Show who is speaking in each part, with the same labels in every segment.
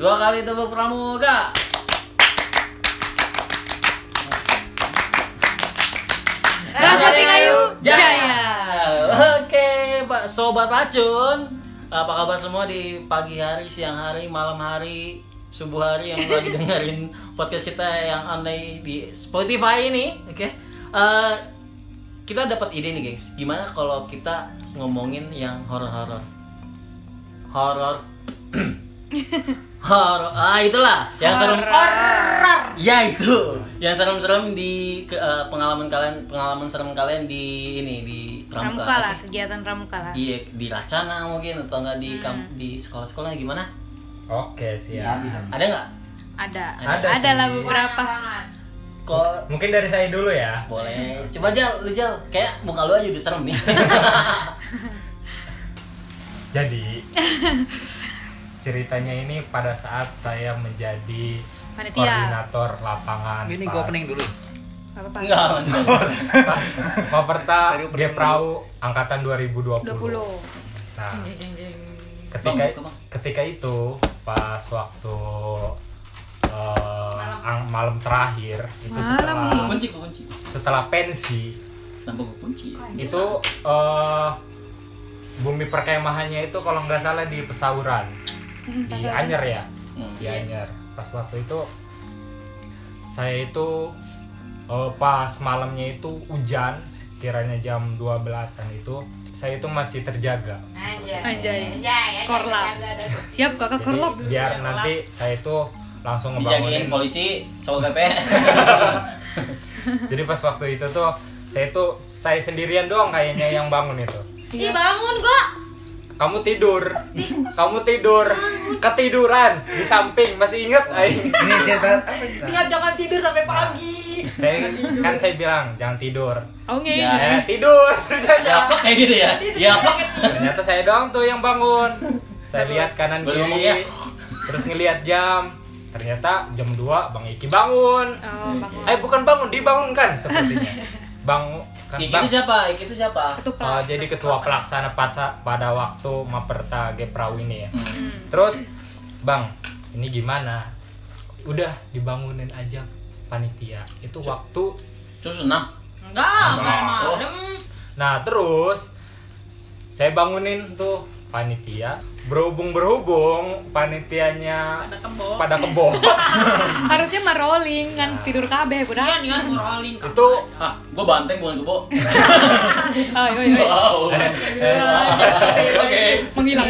Speaker 1: Dua kali tepuk pramuka.
Speaker 2: Rasati Kayu
Speaker 1: Jaya.
Speaker 2: Jaya.
Speaker 1: Oke, Pak Sobat Racun. Apa kabar semua di pagi hari, siang hari, malam hari, subuh hari yang lagi dengerin podcast kita yang aneh di Spotify ini, oke? Eh, kita dapat ide nih, gengs. Gimana kalau kita ngomongin yang horor-horor? Horor. horor. Ah, itulah. Yang serem Ya itu, yang serem-serem di ke- eh, pengalaman kalian, pengalaman serem kalian di ini di pramuka.
Speaker 2: Pramuka lah, kegiatan pramuka lah.
Speaker 1: Iya, di Racana mungkin atau enggak di kam- di sekolah-sekolah gimana?
Speaker 3: Oke siap.
Speaker 1: Ada nggak?
Speaker 2: Ada.
Speaker 3: Ada
Speaker 2: Ada lah
Speaker 3: sih.
Speaker 2: beberapa.
Speaker 1: Kok
Speaker 3: Mungkin dari saya dulu ya.
Speaker 1: boleh? Coba jal, lu jal, kayak muka lu aja udah serem nih.
Speaker 3: Jadi ceritanya ini pada saat saya menjadi
Speaker 2: Panitia.
Speaker 3: koordinator lapangan.
Speaker 4: Ini
Speaker 3: pas-
Speaker 4: gue opening dulu.
Speaker 2: Gak apa-apa.
Speaker 1: Enggak, enggak.
Speaker 3: pas Koperta
Speaker 4: Tadi opening
Speaker 3: Geprau angkatan
Speaker 2: 20.
Speaker 3: 2020. Nah,
Speaker 1: Bang,
Speaker 3: ketika
Speaker 1: buka, Bang.
Speaker 3: ketika itu pas waktu eh, ang- malam. terakhir itu
Speaker 2: Malam,
Speaker 3: setelah
Speaker 2: ya.
Speaker 1: Kunci kok kunci.
Speaker 3: setelah pensi
Speaker 1: Nambah gua kunci. ya?
Speaker 3: itu eh, bumi perkemahannya itu kalau nggak salah di pesauran
Speaker 2: Hmm,
Speaker 3: di
Speaker 2: pasal-
Speaker 3: Anyer ya
Speaker 1: Hmm.
Speaker 3: di Anyer pas waktu itu saya itu eh, pas malamnya itu hujan sekiranya jam 12-an itu saya itu masih terjaga
Speaker 5: Iya.
Speaker 2: Anjay.
Speaker 5: Jaya,
Speaker 2: Korlap. Siap kakak
Speaker 3: Jadi,
Speaker 2: korlap dulu.
Speaker 3: biar nanti saya itu langsung
Speaker 1: Dijagain
Speaker 3: ngebangunin
Speaker 1: polisi sama GP.
Speaker 3: jadi pas waktu itu tuh saya itu saya sendirian doang kayaknya yang bangun itu
Speaker 2: Iya,
Speaker 5: Ih bangun gua.
Speaker 3: kamu tidur kamu tidur ketiduran di samping masih inget aing
Speaker 4: Ini cerita apa kita?
Speaker 5: Ingat jangan tidur sampai pagi.
Speaker 3: saya kan saya bilang jangan tidur
Speaker 2: Oh nge.
Speaker 1: Ya.
Speaker 3: eh tidur
Speaker 1: Ya plek kayak gitu ya. Ya plek.
Speaker 3: ternyata saya doang tuh yang bangun saya lihat kanan
Speaker 1: Baru ya. ngomongnya.
Speaker 3: kiri terus ngelihat jam ternyata jam 2 bang Iki bangun
Speaker 2: Oh bangun.
Speaker 3: eh bukan bangun dibangunkan sepertinya bangun kan
Speaker 1: Iki
Speaker 3: bang
Speaker 1: itu gitu siapa? Iki itu siapa?
Speaker 2: Ketupat.
Speaker 3: Eh, jadi ketua pelaksana pasa- pada waktu Maperta Geprau ini ya
Speaker 1: Hmm.
Speaker 3: Terus, Bang, ini gimana? Udah dibangunin aja panitia. Itu waktu.
Speaker 1: Terus senang.
Speaker 5: Enggak,
Speaker 1: Oh.
Speaker 5: malam.
Speaker 3: Nah, terus saya bangunin tuh panitia. Berhubung berhubung panitianya
Speaker 5: Ada kebo.
Speaker 3: pada kebo.
Speaker 2: Harusnya mah rolling kan tidur kabeh budak.
Speaker 5: Iya, rolling.
Speaker 3: itu
Speaker 1: Ah, gue banteng bukan kebo.
Speaker 2: Oh, iya, iya.
Speaker 1: Wow.
Speaker 3: eh,
Speaker 1: Oke.
Speaker 2: Menghilang.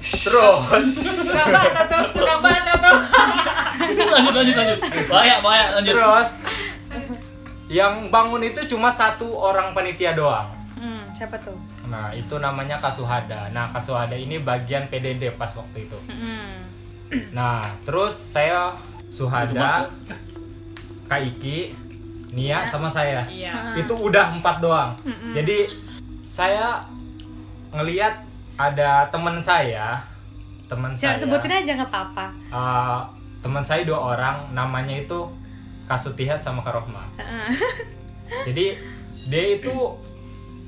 Speaker 3: terus
Speaker 5: Tukang bahas satu, tukang bahas satu.
Speaker 1: Lanjut lanjut lanjut. Bahaya bahaya lanjut.
Speaker 3: terus yang bangun itu cuma satu orang panitia doang.
Speaker 2: Hmm, siapa tuh?
Speaker 3: Nah, itu namanya Kasuhada. Nah, Kasuhada ini bagian PDD pas waktu itu.
Speaker 2: Hmm.
Speaker 3: Nah, terus saya Suhada, Kak Iki, Nia sama saya.
Speaker 5: Iya.
Speaker 2: Ah.
Speaker 3: Itu udah empat doang. Jadi saya ngeliat ada teman saya, teman
Speaker 2: Siap,
Speaker 3: saya.
Speaker 2: sebutin aja nggak apa-apa.
Speaker 3: eh, teman saya dua orang, namanya itu Kasutihat sama Karohma.
Speaker 2: Heeh.
Speaker 3: Jadi dia itu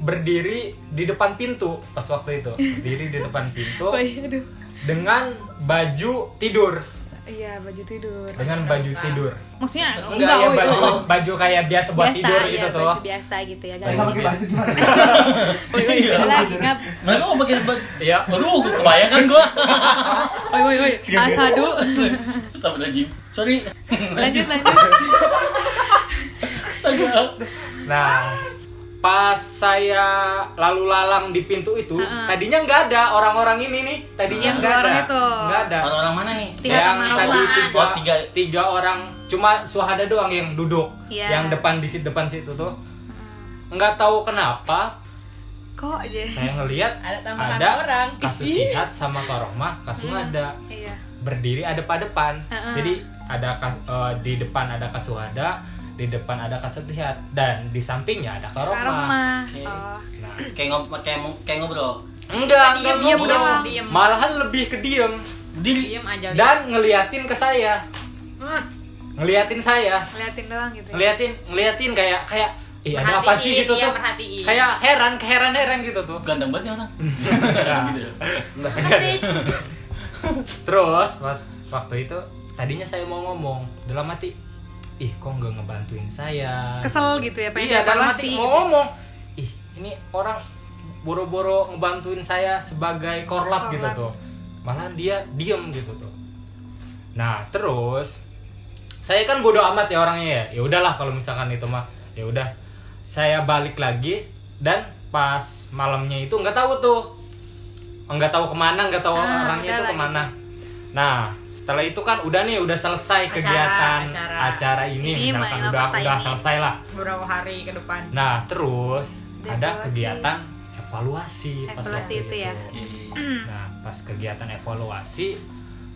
Speaker 3: berdiri di depan pintu pas waktu itu, berdiri di depan pintu
Speaker 2: Woi, aduh.
Speaker 3: dengan baju tidur,
Speaker 2: Iya, baju tidur.
Speaker 3: dengan baju tidur.
Speaker 2: Maksudnya enggak,
Speaker 3: Enggak, ya
Speaker 2: oh,
Speaker 3: baju
Speaker 2: oh.
Speaker 3: baju kayak biasa buat
Speaker 2: biasa,
Speaker 3: tidur
Speaker 2: iya,
Speaker 3: gitu Iya. tuh.
Speaker 2: baju biasa gitu ya.
Speaker 4: Kita pakai baju gimana?
Speaker 2: Woi, woi, lagi ngap.
Speaker 1: Mereka Nah, mau pakai sebab.
Speaker 3: Iya.
Speaker 1: Aduh, gue kebayangkan gue.
Speaker 2: Woi, woi, woi.
Speaker 3: Iya.
Speaker 2: Asadu.
Speaker 1: Astagfirullahaladzim. Sorry.
Speaker 2: Lanjut, lanjut.
Speaker 1: Astaga.
Speaker 3: Nah, pas saya lalu lalang di pintu itu, tadinya nggak ada orang-orang ini nih. Tadinya
Speaker 2: Yang dua
Speaker 3: nggak ada.
Speaker 2: orang itu.
Speaker 3: Nggak ada.
Speaker 1: Orang-orang mana nih?
Speaker 2: Tiga
Speaker 3: yang
Speaker 2: kamar
Speaker 3: tadi
Speaker 2: rumah.
Speaker 3: tiga,
Speaker 1: Oh,
Speaker 3: tiga,
Speaker 1: tiga.
Speaker 3: orang cuma suhada doang yang duduk
Speaker 2: Iya.
Speaker 3: yang depan di si- depan situ tuh nggak tahu kenapa
Speaker 2: Kok aja?
Speaker 3: saya ngelihat
Speaker 5: Ada tambahan
Speaker 3: ada
Speaker 5: orang.
Speaker 3: kasuhihat sama karomah kasuhada
Speaker 2: Iya.
Speaker 3: berdiri ada pada depan.
Speaker 2: Heeh.
Speaker 3: Jadi ada kas- eh, di depan ada kasuhada, di depan ada kasetihat dan di sampingnya ada karoma.
Speaker 2: Karma.
Speaker 1: Oke.
Speaker 2: Oh.
Speaker 3: Nah,
Speaker 1: Kayak ngob kayak mo- kayak ngobrol.
Speaker 3: enggak, enggak
Speaker 2: Diem
Speaker 3: ngobrol.
Speaker 2: doang.
Speaker 5: Diem.
Speaker 3: Malahan lebih ke diem
Speaker 1: Diri.
Speaker 5: Diam aja. liat.
Speaker 3: dan ngeliatin ke saya.
Speaker 5: Hmm.
Speaker 3: Ngeliatin saya,
Speaker 2: Ngeliatin doang gitu. Ya.
Speaker 3: ngeliatin, ngeliatin kayak kayak Ih, ada apa sih
Speaker 5: Perhatiin,
Speaker 3: gitu
Speaker 5: iya,
Speaker 3: tuh?
Speaker 5: perhatiin.
Speaker 3: Kayak heran, keheran-heran gitu tuh.
Speaker 1: Ganteng banget ya orang. Gitu.
Speaker 5: Aduh,
Speaker 3: Terus pas waktu itu tadinya saya mau ngomong dalam hati, ih kok nggak ngebantuin saya.
Speaker 2: Kesel gitu ya, pengen
Speaker 3: iya
Speaker 2: dievaluasi
Speaker 3: dalam hati
Speaker 2: gitu.
Speaker 3: mau ngomong, ih ini orang boro-boro ngebantuin saya sebagai korlap gitu
Speaker 2: Korlap.
Speaker 3: tuh, malah dia diem gitu tuh. Nah terus saya kan bodoh amat ya orangnya ya, ya udahlah kalau misalkan itu mah, ya udah saya balik lagi dan pas malamnya itu nggak tahu tuh nggak tahu kemana nggak tahu
Speaker 2: Ah,
Speaker 3: orangnya itu
Speaker 2: udahlah
Speaker 3: kemana nah setelah itu kan udah nih udah selesai
Speaker 5: Acara,
Speaker 3: kegiatan
Speaker 5: acara.
Speaker 3: acara ini,
Speaker 2: Ini
Speaker 3: misalkan
Speaker 2: mulai
Speaker 3: udah
Speaker 2: apa,
Speaker 3: udah
Speaker 2: ini?
Speaker 3: selesai lah
Speaker 5: beberapa hari ke depan
Speaker 3: nah terus
Speaker 2: Udah
Speaker 3: ada
Speaker 2: evaluasi.
Speaker 3: kegiatan evaluasi pas
Speaker 2: Evaluasi
Speaker 3: waktu
Speaker 2: itu ya.
Speaker 3: nah pas kegiatan evaluasi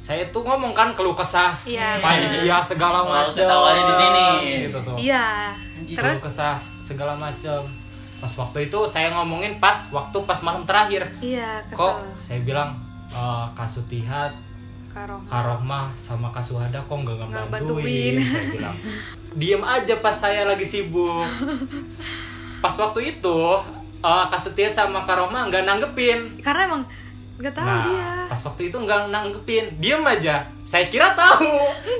Speaker 3: saya tuh ngomong kan keluh kesah
Speaker 2: Iya.
Speaker 3: panitia segala
Speaker 1: Oh,
Speaker 3: macam
Speaker 1: ketawanya di sini.
Speaker 3: gitu tuh
Speaker 2: Iya.
Speaker 3: terus
Speaker 2: Terus
Speaker 3: kesah segala macam pas waktu itu saya ngomongin pas waktu pas malam terakhir
Speaker 2: iya kesel.
Speaker 3: kok saya bilang eh, kasutihat
Speaker 2: Karong.
Speaker 3: karohmah sama kasuhada kok nggak
Speaker 2: Nggak
Speaker 3: ngebantuin
Speaker 2: bantuin.
Speaker 3: saya bilang diem aja pas saya lagi sibuk pas waktu itu eh, kasutihat sama karohmah nggak nanggepin
Speaker 2: Karena emang nggak tahu
Speaker 3: nah,
Speaker 2: dia.
Speaker 3: pas waktu itu nggak nanggepin, diem aja. Saya kira tahu,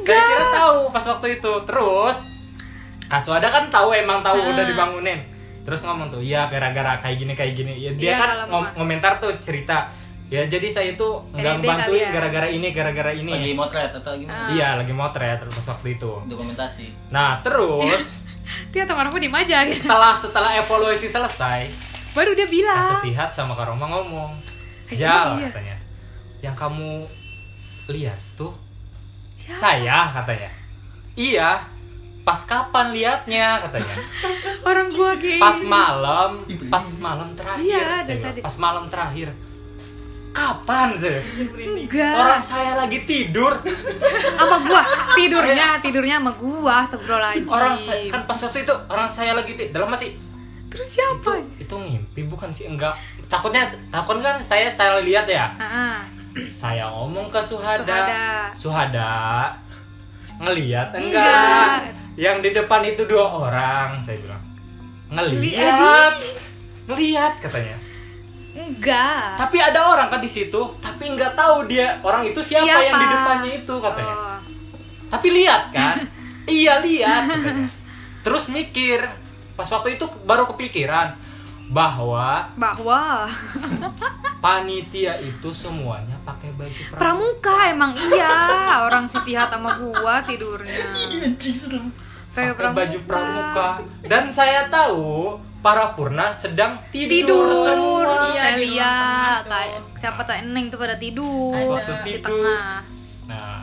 Speaker 3: saya kira tahu pas waktu itu. Terus Kasuada kan tahu emang tahu
Speaker 2: Ah.
Speaker 3: udah dibangunin. Terus ngomong tuh, ya gara-gara kayak gini kayak gini. Ya, dia
Speaker 2: Iya,
Speaker 3: kan
Speaker 2: kalau
Speaker 3: ngom-
Speaker 2: ngomong.
Speaker 3: ngomentar tuh cerita. Ya jadi saya itu nggak
Speaker 2: Pede
Speaker 3: ngebantuin
Speaker 2: kali ya.
Speaker 3: gara-gara ini gara-gara ini.
Speaker 1: Lagi motret atau gimana?
Speaker 3: Iya lagi motret terus pas waktu itu.
Speaker 1: Dokumentasi.
Speaker 3: Nah terus
Speaker 2: Dia teman aku diem aja gitu.
Speaker 3: setelah setelah evaluasi selesai,
Speaker 2: Baru dia bilang.
Speaker 3: Kasetihat sama Kak Roma ngomong
Speaker 2: Eh,
Speaker 3: Jal
Speaker 2: iya.
Speaker 3: katanya Yang kamu lihat tuh
Speaker 2: Siapa?
Speaker 3: Saya katanya Iya Pas kapan liatnya katanya
Speaker 2: Orang gua gini.
Speaker 3: Pas malam Pas malam terakhir
Speaker 2: Iya,
Speaker 3: saya
Speaker 2: dari
Speaker 3: bilang.
Speaker 2: tadi.
Speaker 3: Pas malam terakhir Kapan sih?
Speaker 2: Enggak.
Speaker 3: Orang saya lagi tidur
Speaker 2: Sama gua tidurnya tidurnya sama gua astagfirullahaladzim.
Speaker 3: Orang saya Kan pas waktu itu Orang saya lagi tidur Dalam hati
Speaker 2: Terus siapa?
Speaker 3: Itu ngimpi bukan sih Enggak Takutnya Takut kan saya saya lihat ya
Speaker 2: Heeh.
Speaker 3: saya ngomong ke Suhada
Speaker 2: Suhada.
Speaker 3: Suhada ngelihat
Speaker 2: Enggak.
Speaker 3: enggak yang di depan itu dua orang saya bilang ngelihat
Speaker 2: Ngeliat.
Speaker 3: ngelihat katanya
Speaker 2: Enggak.
Speaker 3: tapi ada orang kan di situ tapi nggak tahu dia orang itu siapa, yang di depannya itu katanya
Speaker 2: Oh.
Speaker 3: tapi lihat kan iya lihat katanya. terus mikir pas waktu itu baru kepikiran bahwa
Speaker 2: Bahwa
Speaker 3: panitia itu semuanya pakai baju pramuka
Speaker 2: pramuka emang iya orang setihat sama gua tidurnya.
Speaker 1: Anjing serem.
Speaker 2: Kayak
Speaker 3: Iya, pakai baju pramuka dan saya tahu para purna sedang tidur,
Speaker 2: tidur iya
Speaker 3: semua.
Speaker 5: Iya, di ruang
Speaker 2: iya
Speaker 5: tengah tuh.
Speaker 2: kayak siapa tak eneng tuh pada tidur
Speaker 3: Pas waktu
Speaker 2: di
Speaker 3: tidur.
Speaker 2: tengah
Speaker 3: Nah,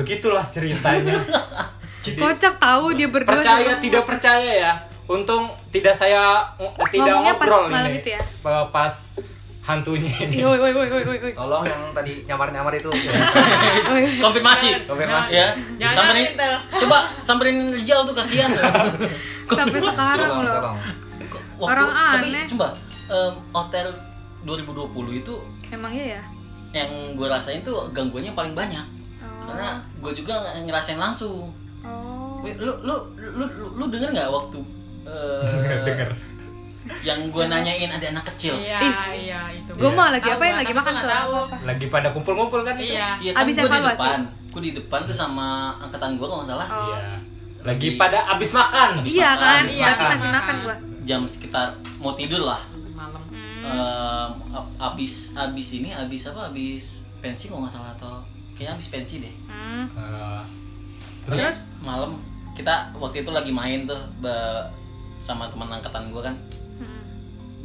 Speaker 3: begitulah ceritanya. Jadi
Speaker 2: kocak tahu dia berdua
Speaker 3: percaya
Speaker 2: di
Speaker 3: tidak percaya ya. Untung tidak saya eh, tidak
Speaker 2: Ngomongnya pas
Speaker 3: ngobrol
Speaker 2: malam
Speaker 3: ini.
Speaker 2: itu ya? Iya.
Speaker 3: Pa- Pas hantunya
Speaker 2: rumah.
Speaker 3: ini.
Speaker 2: Ih, woi woi woi woi woi woi.
Speaker 4: Tolong yang tadi nyamar-nyamar itu.
Speaker 2: Woi.
Speaker 1: Konfirmasi.
Speaker 4: Konfirmasi.
Speaker 1: Ya.
Speaker 5: Jangan
Speaker 1: Samperin.
Speaker 5: Intel.
Speaker 1: Coba samperin Rijal tuh kasihan.
Speaker 2: sampai sekarang
Speaker 4: Tolong,
Speaker 2: loh
Speaker 4: tolong.
Speaker 1: Waktu-
Speaker 2: Orang
Speaker 1: tapi
Speaker 2: aneh.
Speaker 1: coba em, hotel 2020 itu
Speaker 2: emang iya ya
Speaker 1: yang gue rasain tuh gangguannya paling banyak
Speaker 2: oh,
Speaker 1: karena gue juga ng- ngerasain langsung
Speaker 2: oh.
Speaker 1: Wih,
Speaker 3: Iya.
Speaker 1: lu lu lu lu, lu denger nggak waktu eh,
Speaker 3: Dengar.
Speaker 1: yang gue
Speaker 2: Iya.
Speaker 1: nanyain ada anak kecil
Speaker 5: iya
Speaker 2: Is.
Speaker 5: iya itu
Speaker 2: gue
Speaker 3: Iya.
Speaker 2: mau lagi
Speaker 5: Tahu
Speaker 2: apain
Speaker 5: gua,
Speaker 2: lagi
Speaker 5: tapi
Speaker 2: makan tuh
Speaker 5: gua
Speaker 2: Oh.
Speaker 5: nggak tahu.
Speaker 2: apa?
Speaker 3: Lagi pada kumpul-kumpul kan itu.
Speaker 5: iya
Speaker 1: iya kan
Speaker 2: Abis
Speaker 1: gue di
Speaker 2: evaluasi.
Speaker 1: depan gue di depan tuh sama angkatan gue kalau nggak salah
Speaker 2: Oh.
Speaker 3: Iya. Lagi pada abis makan.
Speaker 1: Abis
Speaker 2: iya
Speaker 1: makan,
Speaker 2: kan
Speaker 1: abis
Speaker 2: tapi
Speaker 3: makan. Iya.
Speaker 2: masih makan gua
Speaker 1: jam sekitar mau tidur lah
Speaker 5: malam
Speaker 2: Hmm.
Speaker 1: Em, ab- abis abis ini abis apa abis pensi kalau nggak salah atau kayaknya abis pensi deh
Speaker 2: Hmm.
Speaker 3: Eh,
Speaker 1: terus, malam kita waktu itu lagi main tuh be- sama teman angkatan gue kan
Speaker 2: Hmm.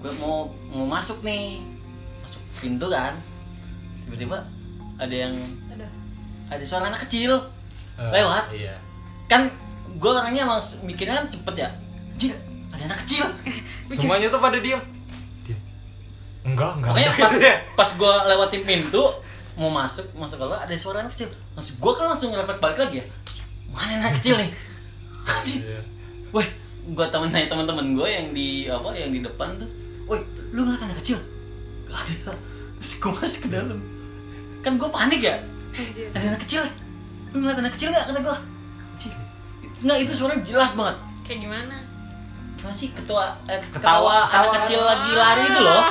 Speaker 1: gue mau mau masuk nih masuk pintu kan tiba-tiba ada yang ada suara anak kecil
Speaker 3: eh,
Speaker 1: Lewat.
Speaker 3: Iya.
Speaker 1: kan gue orangnya langsung mikirnya kan cepet ya anjir ada anak kecil
Speaker 3: Iya. Semuanya tuh pada diem. Diem. Enggak, enggak.
Speaker 1: makanya pas pas gue lewatin pintu mau masuk masuk kalau ada suara anak kecil masuk gue kan langsung ngelepet balik lagi ya mana anak kecil nih Anjir.
Speaker 3: Iya.
Speaker 1: Woi, gua temen nanya teman-teman gue yang di apa yang di depan tuh. Woi, lu ngeliat anak kecil? Gak ada. Terus gua masuk ke dalam. Kan gua panik ya.
Speaker 2: Anjir.
Speaker 1: Ada anak kecil. Lu ngeliat anak kecil gak? Kata gua. Anjir. Itu- Nggak, itu suaranya jelas banget.
Speaker 5: kayak gimana
Speaker 1: Gimana sih ketua eh, ketawa,
Speaker 3: Ketawa.
Speaker 1: anak kecil lagi lari itu loh.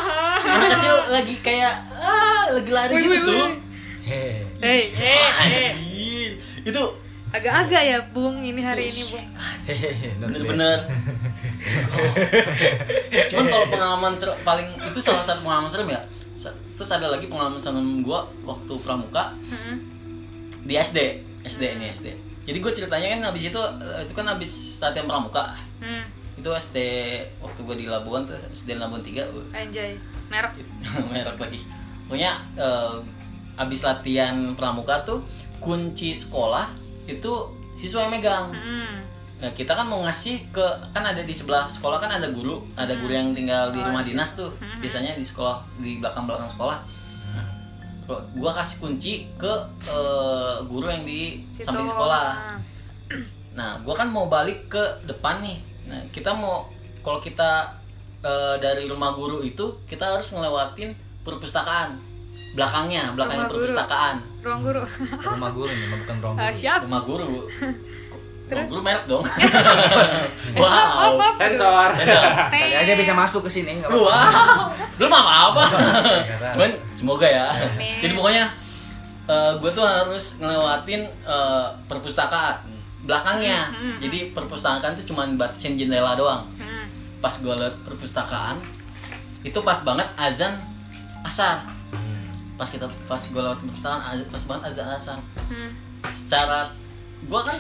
Speaker 1: Anak kecil lagi kayak ah, lagi lari
Speaker 2: Woi,
Speaker 1: gitu
Speaker 2: woi,
Speaker 1: tuh.
Speaker 2: woi.
Speaker 3: Heh.
Speaker 2: Hei,
Speaker 1: Eh, anjing. Itu
Speaker 2: agak-agak ya Bung ini hari ini Bung.
Speaker 1: bener-bener cuman kalau pengalaman ser- paling itu salah satu pengalaman serem ya Sa- terus ada lagi pengalaman serem gue waktu pramuka
Speaker 2: Heeh.
Speaker 1: di SD SD ini SD jadi gue ceritanya kan habis itu eh, itu kan habis latihan pramuka
Speaker 2: Hmm,
Speaker 1: itu SD waktu gue di Labuan tuh SD Labuan 3 gua.
Speaker 2: anjay. Merek.
Speaker 1: merek lagi pokoknya eh, habis latihan pramuka tuh kunci sekolah itu siswa yang megang
Speaker 2: Hmm.
Speaker 1: Nah, kita kan mau ngasih ke kan ada di sebelah sekolah kan ada guru, ada guru yang tinggal di
Speaker 2: Oh,
Speaker 1: rumah dinas tuh.
Speaker 2: hmm.
Speaker 1: Biasanya di sekolah di belakang-belakang sekolah. Nah, gua- gua kasih kunci ke eh, guru yang di
Speaker 2: Situ.
Speaker 1: samping sekolah.
Speaker 2: Ah.
Speaker 1: Nah, gua kan mau balik ke depan nih. Nah, kita mau kalau kita eh, dari rumah guru itu kita harus ngelewatin perpustakaan. Belakangnya, belakangnya
Speaker 2: Rumah guru.
Speaker 1: perpustakaan.
Speaker 2: Ruang guru.
Speaker 4: rumah guru nih bukan ruang
Speaker 2: Ah,
Speaker 4: guru
Speaker 2: siap.
Speaker 1: Rumah guru. Bu. Rumah
Speaker 2: Terus?
Speaker 1: guru merek dong. wow.
Speaker 2: Op, op,
Speaker 1: Iya.
Speaker 2: op.
Speaker 3: Sensor.
Speaker 1: Sensor.
Speaker 4: kali aja bisa masuk ke sini nggak apa-apa.
Speaker 1: Wow, belum apa-apa. Cuman semoga ya.
Speaker 2: Amin.
Speaker 1: Jadi pokoknya gue tuh harus ngelewatin eh, perpustakaan belakangnya. Jadi perpustakaan tuh cuman batasin jendela doang.
Speaker 2: Hmm.
Speaker 1: Pas gue liat perpustakaan, itu pas banget azan asar. Pas kita pas gue lewat perpustakaan, az- pas banget azan asar.
Speaker 2: Hmm.
Speaker 1: Secara gue kan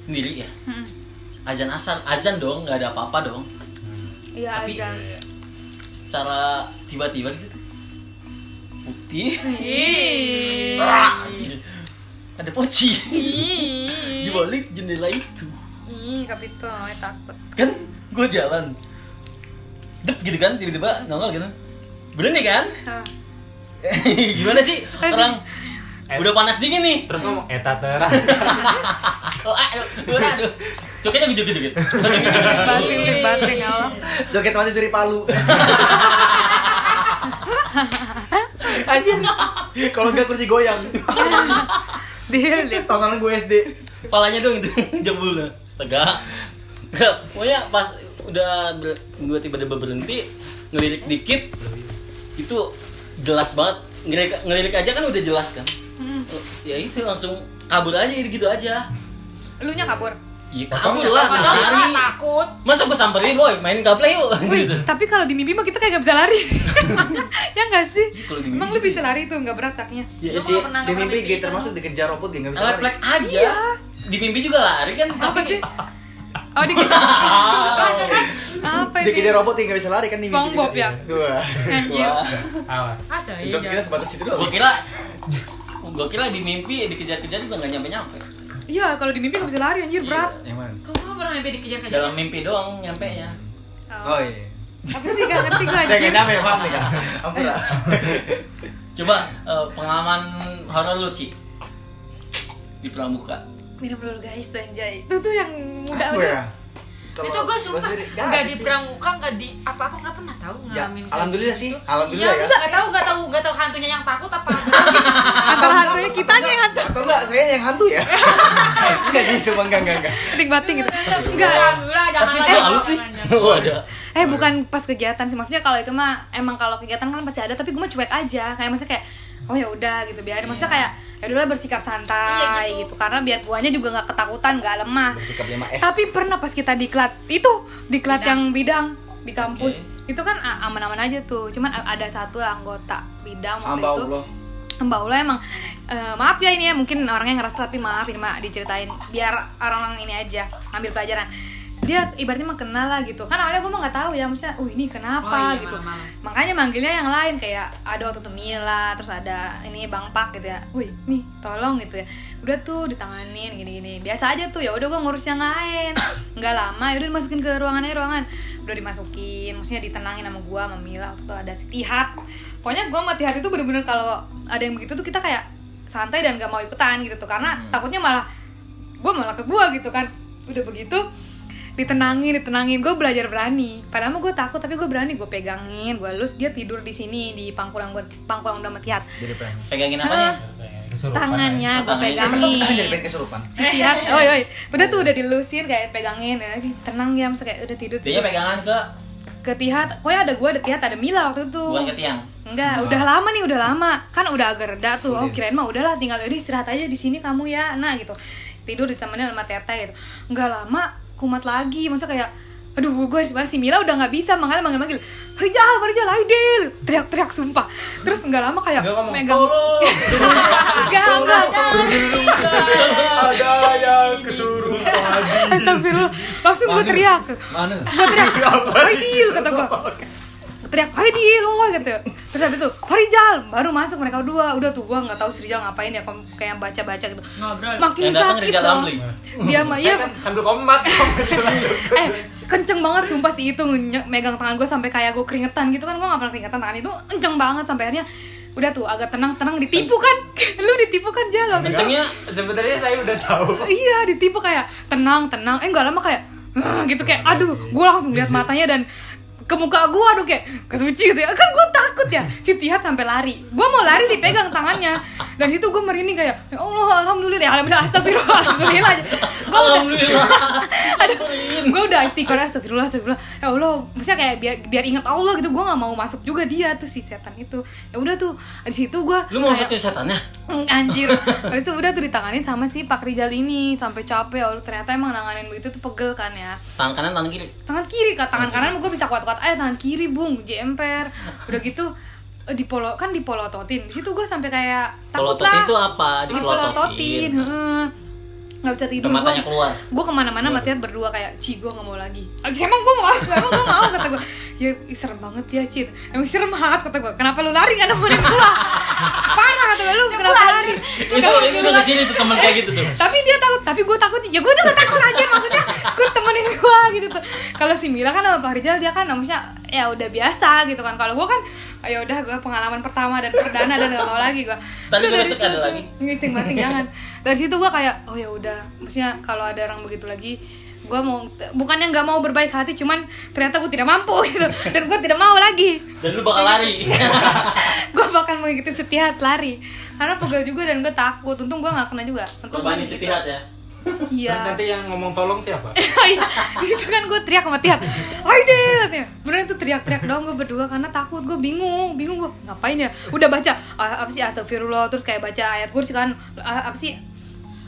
Speaker 1: sendiri ya.
Speaker 2: Hmm.
Speaker 1: Azan asar, azan dong, nggak ada apa-apa dong.
Speaker 2: Iya,
Speaker 1: Tapi-
Speaker 2: azan.
Speaker 1: Secara tiba-tiba gitu putih.
Speaker 2: Ih.
Speaker 1: Ah, anjir. ada poci
Speaker 2: Ih.
Speaker 1: di balik jendela itu
Speaker 2: Ih, kapito, eh, takut.
Speaker 1: kan gue jalan dep gitu kan tiba-tiba nongol gitu berhenti kan
Speaker 2: Ah.
Speaker 1: gimana sih orang udah panas dingin nih
Speaker 3: Eh, Terus ngomong "Eh, eta tera.
Speaker 1: oh, ah, aduh, aduh, aduh. Jogetnya gitu gitu gitu.
Speaker 2: Batin, batin, ya Allah.
Speaker 4: joget masih suri palu anjir kalau nggak kursi goyang
Speaker 2: Deal deh.
Speaker 4: tontonan gue SD
Speaker 1: Kepalanya dong itu jebul lah. Astaga. Enggak, pokoknya pas udah ber- gue tiba-tiba berhenti ngelirik dikit itu jelas banget ngelirik, ngelirik aja kan udah jelas kan
Speaker 2: Hmm.
Speaker 1: ya itu langsung kabur aja gitu aja
Speaker 2: Lu nya kabur.
Speaker 1: ya kabur lah
Speaker 5: Kalau gua
Speaker 1: lari
Speaker 5: takut
Speaker 1: masa gue samperin boy main gaple yuk gitu
Speaker 2: Tapi kalau di mimpi mah kita kayak gak bisa lari. ya gak sih?
Speaker 1: Iya, kalau di mimpi.
Speaker 2: Emang lu bisa lari tuh gak berat kakinya?
Speaker 1: ya
Speaker 5: Lu
Speaker 1: sih
Speaker 5: nggak pernah
Speaker 4: di
Speaker 5: nggak
Speaker 4: mimpi
Speaker 5: pernah
Speaker 4: gitu termasuk dikejar robot ya nggak bisa lari
Speaker 1: Lek-lek aja di mimpi juga lari kan
Speaker 2: Iya. Apa
Speaker 1: tapi
Speaker 2: sih? Oh dikejar. Apa
Speaker 4: dikejar
Speaker 2: ini?
Speaker 4: robot ya nggak bisa lari kan di mimpi
Speaker 2: SpongeBob
Speaker 4: juga.
Speaker 2: ya?
Speaker 4: Wah.
Speaker 2: Anjir.
Speaker 1: Wah.
Speaker 3: Awas.
Speaker 5: Masa iya?
Speaker 4: Joget kita sebatas itu
Speaker 1: gue
Speaker 4: doang
Speaker 1: kira gue kira di mimpi dikejar-kejar juga nggak nyampe-nyampe
Speaker 2: Iya kalau di mimpi gak bisa lari anjir berat.
Speaker 4: yang mana
Speaker 5: Kok gua pernah mimpi dikejar-kejar? ya?
Speaker 1: dalam mimpi doang nyampe nya
Speaker 4: oh iya
Speaker 2: Apa sih gak ngerti gue
Speaker 4: saya
Speaker 2: anjir.
Speaker 4: nggak nyampe paham nih kan ampun lah
Speaker 1: coba eh, pengalaman horor lu Ci di pramuka
Speaker 2: Minum dulu guys anjay. Itu tuh yang muda
Speaker 4: Apa
Speaker 2: udah.
Speaker 4: ya?
Speaker 5: itu gue sumpah
Speaker 4: sendiri,
Speaker 5: nggak di
Speaker 4: sih.
Speaker 5: pramuka nggak di apa apa nggak pernah tahu
Speaker 4: Ya,
Speaker 5: ngalamin kayak
Speaker 4: alhamdulillah sih,
Speaker 5: gitu.
Speaker 4: alhamdulillah
Speaker 5: Iya,
Speaker 4: ya.
Speaker 5: nggak tahu nggak tahu nggak tahu hantunya yang takut apa
Speaker 2: Antara hantunya kitanya ya, yang hantu.
Speaker 4: Atau enggak, saya yang hantu ya? enggak sih, cuma enggak, enggak, enggak.
Speaker 2: Bating-bating gitu.
Speaker 4: Iya.
Speaker 2: Enggak.
Speaker 5: alhamdulillah jangan
Speaker 1: tapi
Speaker 5: lagi
Speaker 1: sih halus nih oh ada
Speaker 2: Eh bukan pas kegiatan sih, maksudnya kalau itu mah emang kalau kegiatan kan pasti ada, tapi gue mah cuek aja, kayak maksudnya kayak oh ya udah gitu biarin, maksudnya kayak ya udahlah bersikap santai
Speaker 5: Iya,
Speaker 2: gitu.
Speaker 5: gitu.
Speaker 2: karena biar guanya juga nggak ketakutan, nggak lemah.
Speaker 4: Bersikap 5S.
Speaker 2: Tapi pernah pas kita diklat itu diklat yang bidang di kampus itu kan a- aman-aman aja tuh, cuman a- ada satu anggota bidang waktu
Speaker 4: Hamba
Speaker 2: itu.
Speaker 4: Allah.
Speaker 2: Mbak Ula emang eh, maaf ya ini ya mungkin orangnya ngerasa tapi maaf ini mah diceritain biar orang-orang ini aja ngambil pelajaran dia ibaratnya mah kenal lah gitu kan awalnya gue mah nggak tahu ya maksudnya uh ini
Speaker 5: Oh,
Speaker 2: kenapa
Speaker 5: iya,
Speaker 2: gitu
Speaker 5: malam-malam.
Speaker 2: makanya manggilnya yang lain kayak ada waktu itu Mila terus ada ini Bang Pak gitu ya wih nih tolong gitu ya udah tuh ditanganin gini-gini biasa aja tuh ya udah gue ngurus yang lain nggak lama ya udah dimasukin ke ruangan aja ruangan udah dimasukin maksudnya ditenangin sama gue sama Mila waktu itu ada si Tihat pokoknya gue sama Tihat itu bener-bener kalau ada yang begitu tuh kita kayak santai dan gak mau ikutan gitu tuh karena takutnya malah gue malah ke gue gitu kan udah begitu ditenangin ditenangin gue belajar berani padahal gue takut tapi gue berani gue pegangin gue lus dia tidur di sini di pangkurang gue pangkurang udah metiat
Speaker 4: Jadi pengen.
Speaker 1: pegangin apanya
Speaker 3: Kesurupan, ya.
Speaker 2: tangannya gue
Speaker 1: Tangannya.
Speaker 2: pegangin
Speaker 4: kan Jadi pengen kesurupan.
Speaker 2: si tiat oi oi udah tuh udah dilusin kayak pegangin ya, tenang ya maksudnya kayak udah tidur
Speaker 1: dia pegangan ke
Speaker 2: ke Tihat, pokoknya ada gue, ada Tihat, ada Mila waktu itu
Speaker 1: bukan ke tiang
Speaker 2: Enggak, udah lama nih, udah lama. Kan udah agak reda tuh.
Speaker 3: Iya.
Speaker 2: Oh, kirain mah udahlah tinggal udah istirahat aja di sini kamu ya. Nah, gitu. Tidur ditemenin sama Tete gitu. Enggak lama kumat lagi. Masa kayak aduh gue harus mana si Mila udah nggak bisa makanya manggil-manggil Rijal, Rijal, Aidil teriak-teriak sumpah terus nggak lama kayak
Speaker 3: Enggak ngomong
Speaker 2: megang
Speaker 3: tolong.
Speaker 2: enggak enggak
Speaker 3: Ada yang kesurupan.
Speaker 2: Astagfirullah. Langsung gue teriak. Mana? Gue teriak.
Speaker 1: Ya,
Speaker 2: Haidil kata gue. Teriak Haidil lo gitu. Terus habis itu Farijal baru masuk mereka berdua. Udah tuh gue nggak tahu si Rijal ngapain ya kom- kayak baca-baca gitu.
Speaker 5: Ngobrol.
Speaker 2: Makin
Speaker 1: Yang datang
Speaker 2: sakit
Speaker 1: Rijal
Speaker 2: dong.
Speaker 1: Ramli.
Speaker 2: Dia mah
Speaker 3: Saya
Speaker 2: iya
Speaker 3: kan sambil komat.
Speaker 2: eh kenceng banget sumpah sih itu nye- megang tangan gue sampai kayak gue keringetan gitu kan gue gak pernah keringetan tangan itu kenceng banget sampai akhirnya udah tuh agak tenang tenang ditipu kan lu ditipu kan Jal waktu itu?
Speaker 1: kencengnya
Speaker 3: Sebenarnya saya udah tahu.
Speaker 2: iya ditipu kayak tenang tenang eh nggak lama kayak "Ah," gitu kayak aduh gue langsung lihat matanya dan ke muka gue aduh kayak kesuci gitu ya kan gue takut ya si Tihat sampai lari gue mau lari dipegang tangannya dan itu gue merinding kayak ya Allah alhamdulillah ya alhamdulillah astagfirullah alhamdulillah gue udah
Speaker 1: alhamdulillah
Speaker 2: aduh gue udah istiqomah astagfirullah astagfirullah ya allah maksudnya kayak biar biar ingat allah gitu gue nggak mau masuk juga dia tuh si setan itu ya udah tuh di situ gue
Speaker 1: lu mau
Speaker 2: kayak-
Speaker 1: masuk ke setannya
Speaker 2: Mm, anjir habis itu udah tuh ditanganin sama si Pak Rijal ini sampai capek oh, ternyata emang nanganin begitu tuh pegel kan ya
Speaker 1: tangan kanan tangan kiri
Speaker 2: tangan kiri kak
Speaker 1: Hmm.
Speaker 2: tangan kanan gue bisa kuat-kuat aja tangan kiri bung jemper udah gitu eh, dipolo kan dipolototin di situ gue sampai kayak takut
Speaker 1: Pelotot
Speaker 2: lah
Speaker 1: itu apa?
Speaker 2: dipolototin
Speaker 1: Dipelototin.
Speaker 2: heeh. nggak bisa tidur
Speaker 1: Udah matanya
Speaker 2: gua-
Speaker 1: keluar.
Speaker 2: gue kemana-mana mati berdua kayak Ci gue gak mau lagi Abis, emang gue mau emang gue mau kata gue ya ih, serem banget ya Cid emang serem banget kata gue kenapa lu lari gak nemenin gue parah kata gue lu kenapa lari
Speaker 1: Itu itu udah kecil itu teman kayak gitu tuh.
Speaker 2: tapi dia takut tapi gue takut ya gue juga takut aja maksudnya gue temenin gue gitu tuh kalau si Mila kan sama Pak Rizal dia kan maksudnya ya udah biasa gitu kan kalau gue kan ya udah gue pengalaman pertama dan perdana dan gak mau lagi gue
Speaker 1: Tadi gua masuk ada lagi.
Speaker 2: ngiting banting jangan dari situ gue kayak oh ya udah maksudnya kalau ada orang begitu lagi gue mau bukannya nggak mau berbaik hati cuman ternyata gue tidak mampu gitu dan gue tidak mau lagi
Speaker 1: Dan lu bakal lari.
Speaker 2: gue bakal mengikuti setihat lari karena pegel juga dan gue takut untung gue nggak kena juga untung gua
Speaker 1: Korbanin
Speaker 2: di situ.
Speaker 1: setihat ya.
Speaker 2: iya
Speaker 3: Terus nanti yang ngomong tolong siapa?
Speaker 2: Iya, di situ kan gue teriak sama Tiat Aidil Beneran tuh teriak-teriak doang gue berdua Karena takut, gue bingung Bingung gue, ngapain ya Udah baca, ah, apa sih astagfirullah Terus kayak baca ayat kursi kan ah, Apa sih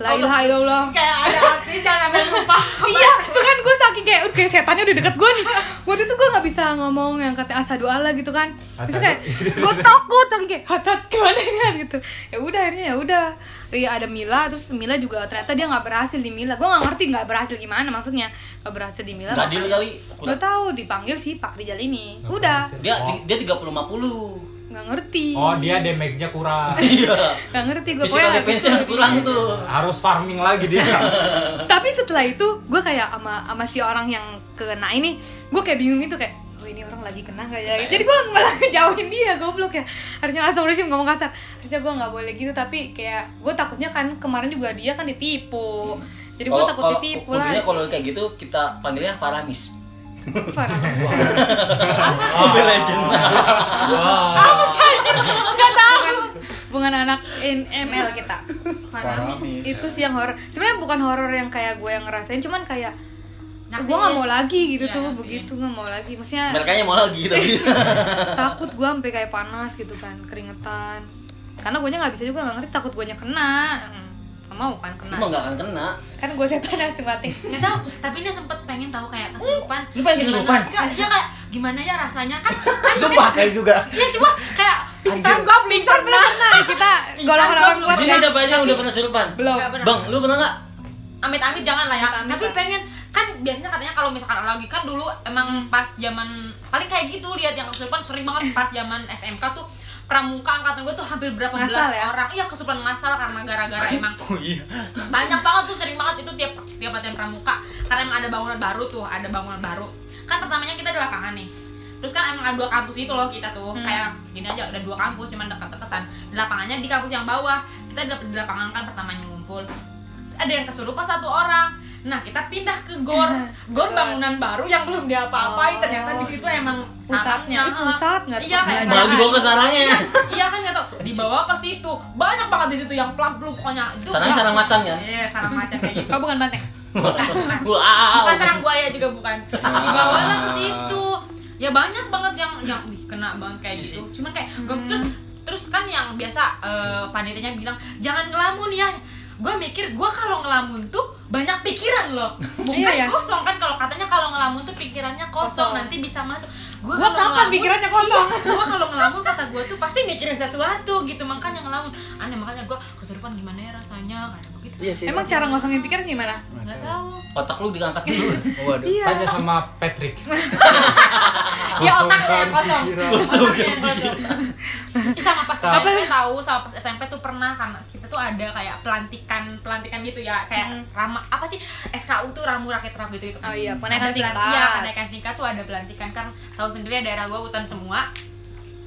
Speaker 2: La ilaha illallah
Speaker 5: Kayak ada artis yang sampai lupa.
Speaker 2: Iya, tuh kan gue saking kayak Udah kayak setannya udah deket gue nih Waktu itu gue gak bisa ngomong yang kata asadu Allah gitu kan Terus
Speaker 3: Asadu.
Speaker 2: kayak, gue takut Tapi kayak, hatat gimana ini gitu Ya udah akhirnya ya udah Iya ada Mila, terus Mila juga ternyata dia nggak berhasil di Mila. Gue nggak ngerti nggak berhasil gimana maksudnya. Nggak berhasil di Mila.
Speaker 1: Gadil
Speaker 2: makanya-
Speaker 1: kali.
Speaker 2: Gak tahu dipanggil si Pak Rijal ini. Udah,
Speaker 1: Dia dia 30 50.
Speaker 2: nggak ngerti.
Speaker 3: Oh dia damage-nya kurang.
Speaker 1: Iya.
Speaker 2: Nggak ngerti gue
Speaker 1: Physical
Speaker 2: pokoknya gitu.
Speaker 1: defense
Speaker 2: habis itu-
Speaker 1: kurang tuh.
Speaker 3: Harus farming lagi dia.
Speaker 2: Tapi setelah itu gue kayak sama sama si orang yang kena ini, gue kayak bingung itu kayak Oh, ini orang lagi kena gak ya? Jadi gue malah ngejauhin dia, goblok ya Harusnya astagfirullahaladzim ngomong kasar Harusnya gue gak boleh gitu, tapi kayak Gue takutnya kan kemarin juga dia kan ditipu Jadi gue
Speaker 1: Kalau-
Speaker 2: takut
Speaker 1: kalau-
Speaker 2: ditipu lah
Speaker 1: kudunya kalau kayak gitu kita panggilnya Faramis.
Speaker 2: Parah.
Speaker 1: Mobile Legend.
Speaker 2: Gak tahu. Bukan anak in ML kita. Manamis. Itu sih yang horor. Sebenarnya bukan horor yang kayak gue yang ngerasain, cuman kayak
Speaker 5: Naksir.
Speaker 2: gue nggak mau lagi gitu
Speaker 5: Nah, Iya,
Speaker 2: tuh,
Speaker 5: naksir.
Speaker 2: begitu nggak mau lagi. Maksudnya
Speaker 1: Mereka mau lagi tapi.
Speaker 2: takut gue sampai kayak panas gitu kan, keringetan. Karena gue nggak bisa juga nggak ngerti takut gue kena. Hmm, Nggak mau kan kena.
Speaker 1: Emang nggak akan kena.
Speaker 2: Kan gue setan mati-mati.
Speaker 5: Nggak tahu, tapi dia sempet pengen tahu kayak kesurupan.
Speaker 1: Lu pengen kesurupan?
Speaker 5: Gimana- Nggak, dia kayak gimana ya rasanya kan? kan
Speaker 4: Sumpah saya juga.
Speaker 5: Iya cuma kayak pingsan gue pingsan belum pernah.
Speaker 2: Kita
Speaker 5: Pingsan
Speaker 2: golongan orang
Speaker 5: gua belum.
Speaker 1: Di
Speaker 2: kuat
Speaker 1: sini
Speaker 2: kan?
Speaker 1: siapa aja yang udah pernah kesurupan?
Speaker 2: Belum.
Speaker 5: Nggak pernah.
Speaker 1: Bang, lu pernah nggak?
Speaker 5: Amit-amit jangan lah ya.
Speaker 2: Amit-amit
Speaker 5: tapi
Speaker 2: lah.
Speaker 5: pengen kan biasanya katanya kalau misalkan lagi kan dulu emang pas zaman paling kayak gitu lihat yang kesurupan sering banget pas zaman SMK tuh pramuka angkatan gue tuh hampir berapa
Speaker 2: Ngasal
Speaker 5: belas
Speaker 2: ya?
Speaker 5: orang iya kesurupan masal karena gara-gara emang
Speaker 1: Oh iya.
Speaker 5: banyak banget tuh sering banget itu tiap tiap latihan pramuka karena emang ada bangunan baru tuh ada bangunan baru kan pertamanya kita di lapangan nih terus kan emang ada dua kampus gitu loh kita tuh
Speaker 2: Hmm.
Speaker 5: kayak gini aja ada dua kampus cuman dekat-dekatan Di lapangannya di kampus yang bawah kita di di lapangan kan pertamanya ngumpul ada yang kesurupan satu orang nah kita pindah ke gor gor
Speaker 2: Gor.
Speaker 5: bangunan baru yang belum
Speaker 2: Oh.
Speaker 5: diapa-apain ternyata di situ emang
Speaker 2: Pusatnya.
Speaker 5: sarangnya.
Speaker 2: Ih, pusat nggak tuh
Speaker 5: iya kayak
Speaker 1: Malah dibawa ke sarangnya.
Speaker 5: iya kan nggak tau dibawa ke situ banyak banget di situ yang plak bluk pokoknya itu
Speaker 1: Sarangnya
Speaker 5: plak-
Speaker 1: sarang macan kan?
Speaker 5: iya sarang macan kayak gitu
Speaker 2: Kau bukan banteng.
Speaker 1: Wow.
Speaker 5: bukan sarang buaya juga bukan dibawalah ke situ ya banyak banget yang yang wih kena banget kayak gitu cuman kayak gua-
Speaker 2: Hmm.
Speaker 5: terus terus kan yang biasa eh, panitianya bilang jangan ngelamun ya gue mikir gue kalau ngelamun tuh banyak pikiran loh bukan
Speaker 2: Iya, ya.
Speaker 5: kosong kan kalau katanya kalau ngelamun tuh pikirannya
Speaker 2: Kosong.
Speaker 5: kosong, nanti bisa masuk gue
Speaker 2: Gua kapan pikirannya kosong?
Speaker 5: gue iya, kalau ngelamun kata gue tuh pasti mikirin sesuatu gitu makanya ngelamun aneh makanya gue kesurupan gimana ya rasanya kata gue gitu
Speaker 4: Iya sih.
Speaker 2: Emang cara ngosongin pikiran gimana?
Speaker 4: Iya.
Speaker 5: nggak tahu
Speaker 1: Otak lu gitu. diangkat dulu.
Speaker 4: Waduh.
Speaker 2: Iya.
Speaker 3: Tanya sama Patrick.
Speaker 5: ya otaknya yang kosong
Speaker 3: Kosongkan pikiran.
Speaker 1: Kosong.
Speaker 5: Otaknya yang kosong Ih, sama pas
Speaker 3: Apa?
Speaker 5: SMP tahu sama pas SMP tuh pernah karena kita tuh ada kayak pelantikan pelantikan gitu ya kayak rama apa sih SKU tuh ramu rakyat rakyat gitu gitu
Speaker 2: Oh iya, penaikan
Speaker 5: Ada pelan-
Speaker 2: tingkat.
Speaker 5: iya penaikan tingkat tuh ada pelantikan kan tahu sendiri daerah gua hutan semua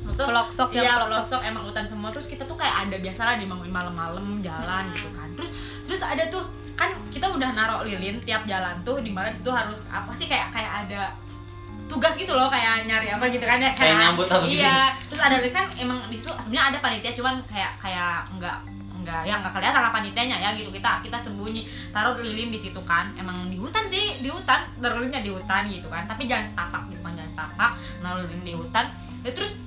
Speaker 5: Betul.
Speaker 2: Peloksok ya,
Speaker 5: iya,
Speaker 2: peloksok.
Speaker 5: peloksok emang hutan semua terus kita tuh kayak ada biasalah dibangunin malam-malam jalan gitu kan terus terus ada tuh kan kita udah naruh lilin tiap jalan tuh di mana di situ harus apa sih kayak kayak ada tugas gitu loh kayak nyari apa gitu kan ya
Speaker 1: Kayak nyambut apa gitu.
Speaker 5: iya terus ada kan emang di situ sebenarnya ada panitia cuman kayak kayak nggak nggak ya nggak kelihatan lah panitianya ya gitu kita kita sembunyi taruh lilin di situ kan emang di hutan sih di hutan taruh lilinnya di hutan gitu kan tapi jangan setapak gitu kan jangan setapak naruh lilin di hutan ya, terus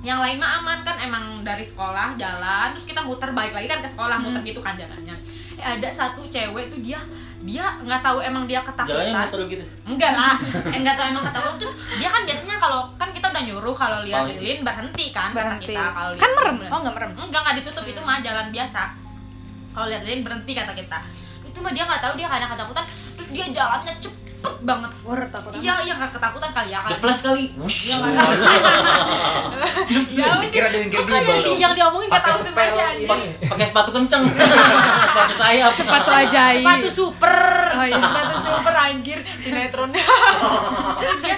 Speaker 5: yang lain mah aman kan emang dari sekolah jalan terus kita muter balik lagi kan ke sekolah muter
Speaker 1: Hmm.
Speaker 5: gitu kan jalannya Eh, ada satu cewek tuh dia dia nggak tahu emang dia
Speaker 1: Jalannya
Speaker 5: ketakutan
Speaker 1: muter gitu.
Speaker 5: enggak lah Eh, enggak tahu emang ketahuan terus dia kan biasanya kalau kan kita udah nyuruh kalau lihat
Speaker 1: Sekali.
Speaker 5: lilin berhenti kan kata
Speaker 2: Berhenti.
Speaker 5: kita kalau
Speaker 2: Kan
Speaker 5: lihat
Speaker 2: merem.
Speaker 5: lilin.
Speaker 2: Oh, enggak merem.
Speaker 5: enggak enggak ditutup itu mah jalan biasa kalau lihat lilin berhenti kata kita itu mah dia nggak tahu dia karena ketakutan terus dia jalannya cepet banget
Speaker 2: Wah, takut
Speaker 5: iya iya nggak ketakutan kali ya
Speaker 1: The
Speaker 5: kan
Speaker 1: flash kali.
Speaker 5: Iya, kan? Iya, wes.
Speaker 4: Kira dengan
Speaker 5: Kok
Speaker 4: kira
Speaker 5: kayak
Speaker 4: global.
Speaker 5: yang diomongin nggak
Speaker 3: Pakai
Speaker 5: tahu
Speaker 3: spell
Speaker 5: sendiri
Speaker 3: ini.
Speaker 5: anjing.
Speaker 1: Pakai sepatu kenceng. sepatu sayap.
Speaker 2: Sepatu ajaib.
Speaker 5: Sepatu super.
Speaker 2: Oh, iya.
Speaker 5: Sepatu super anjir sinetronnya. Terus dia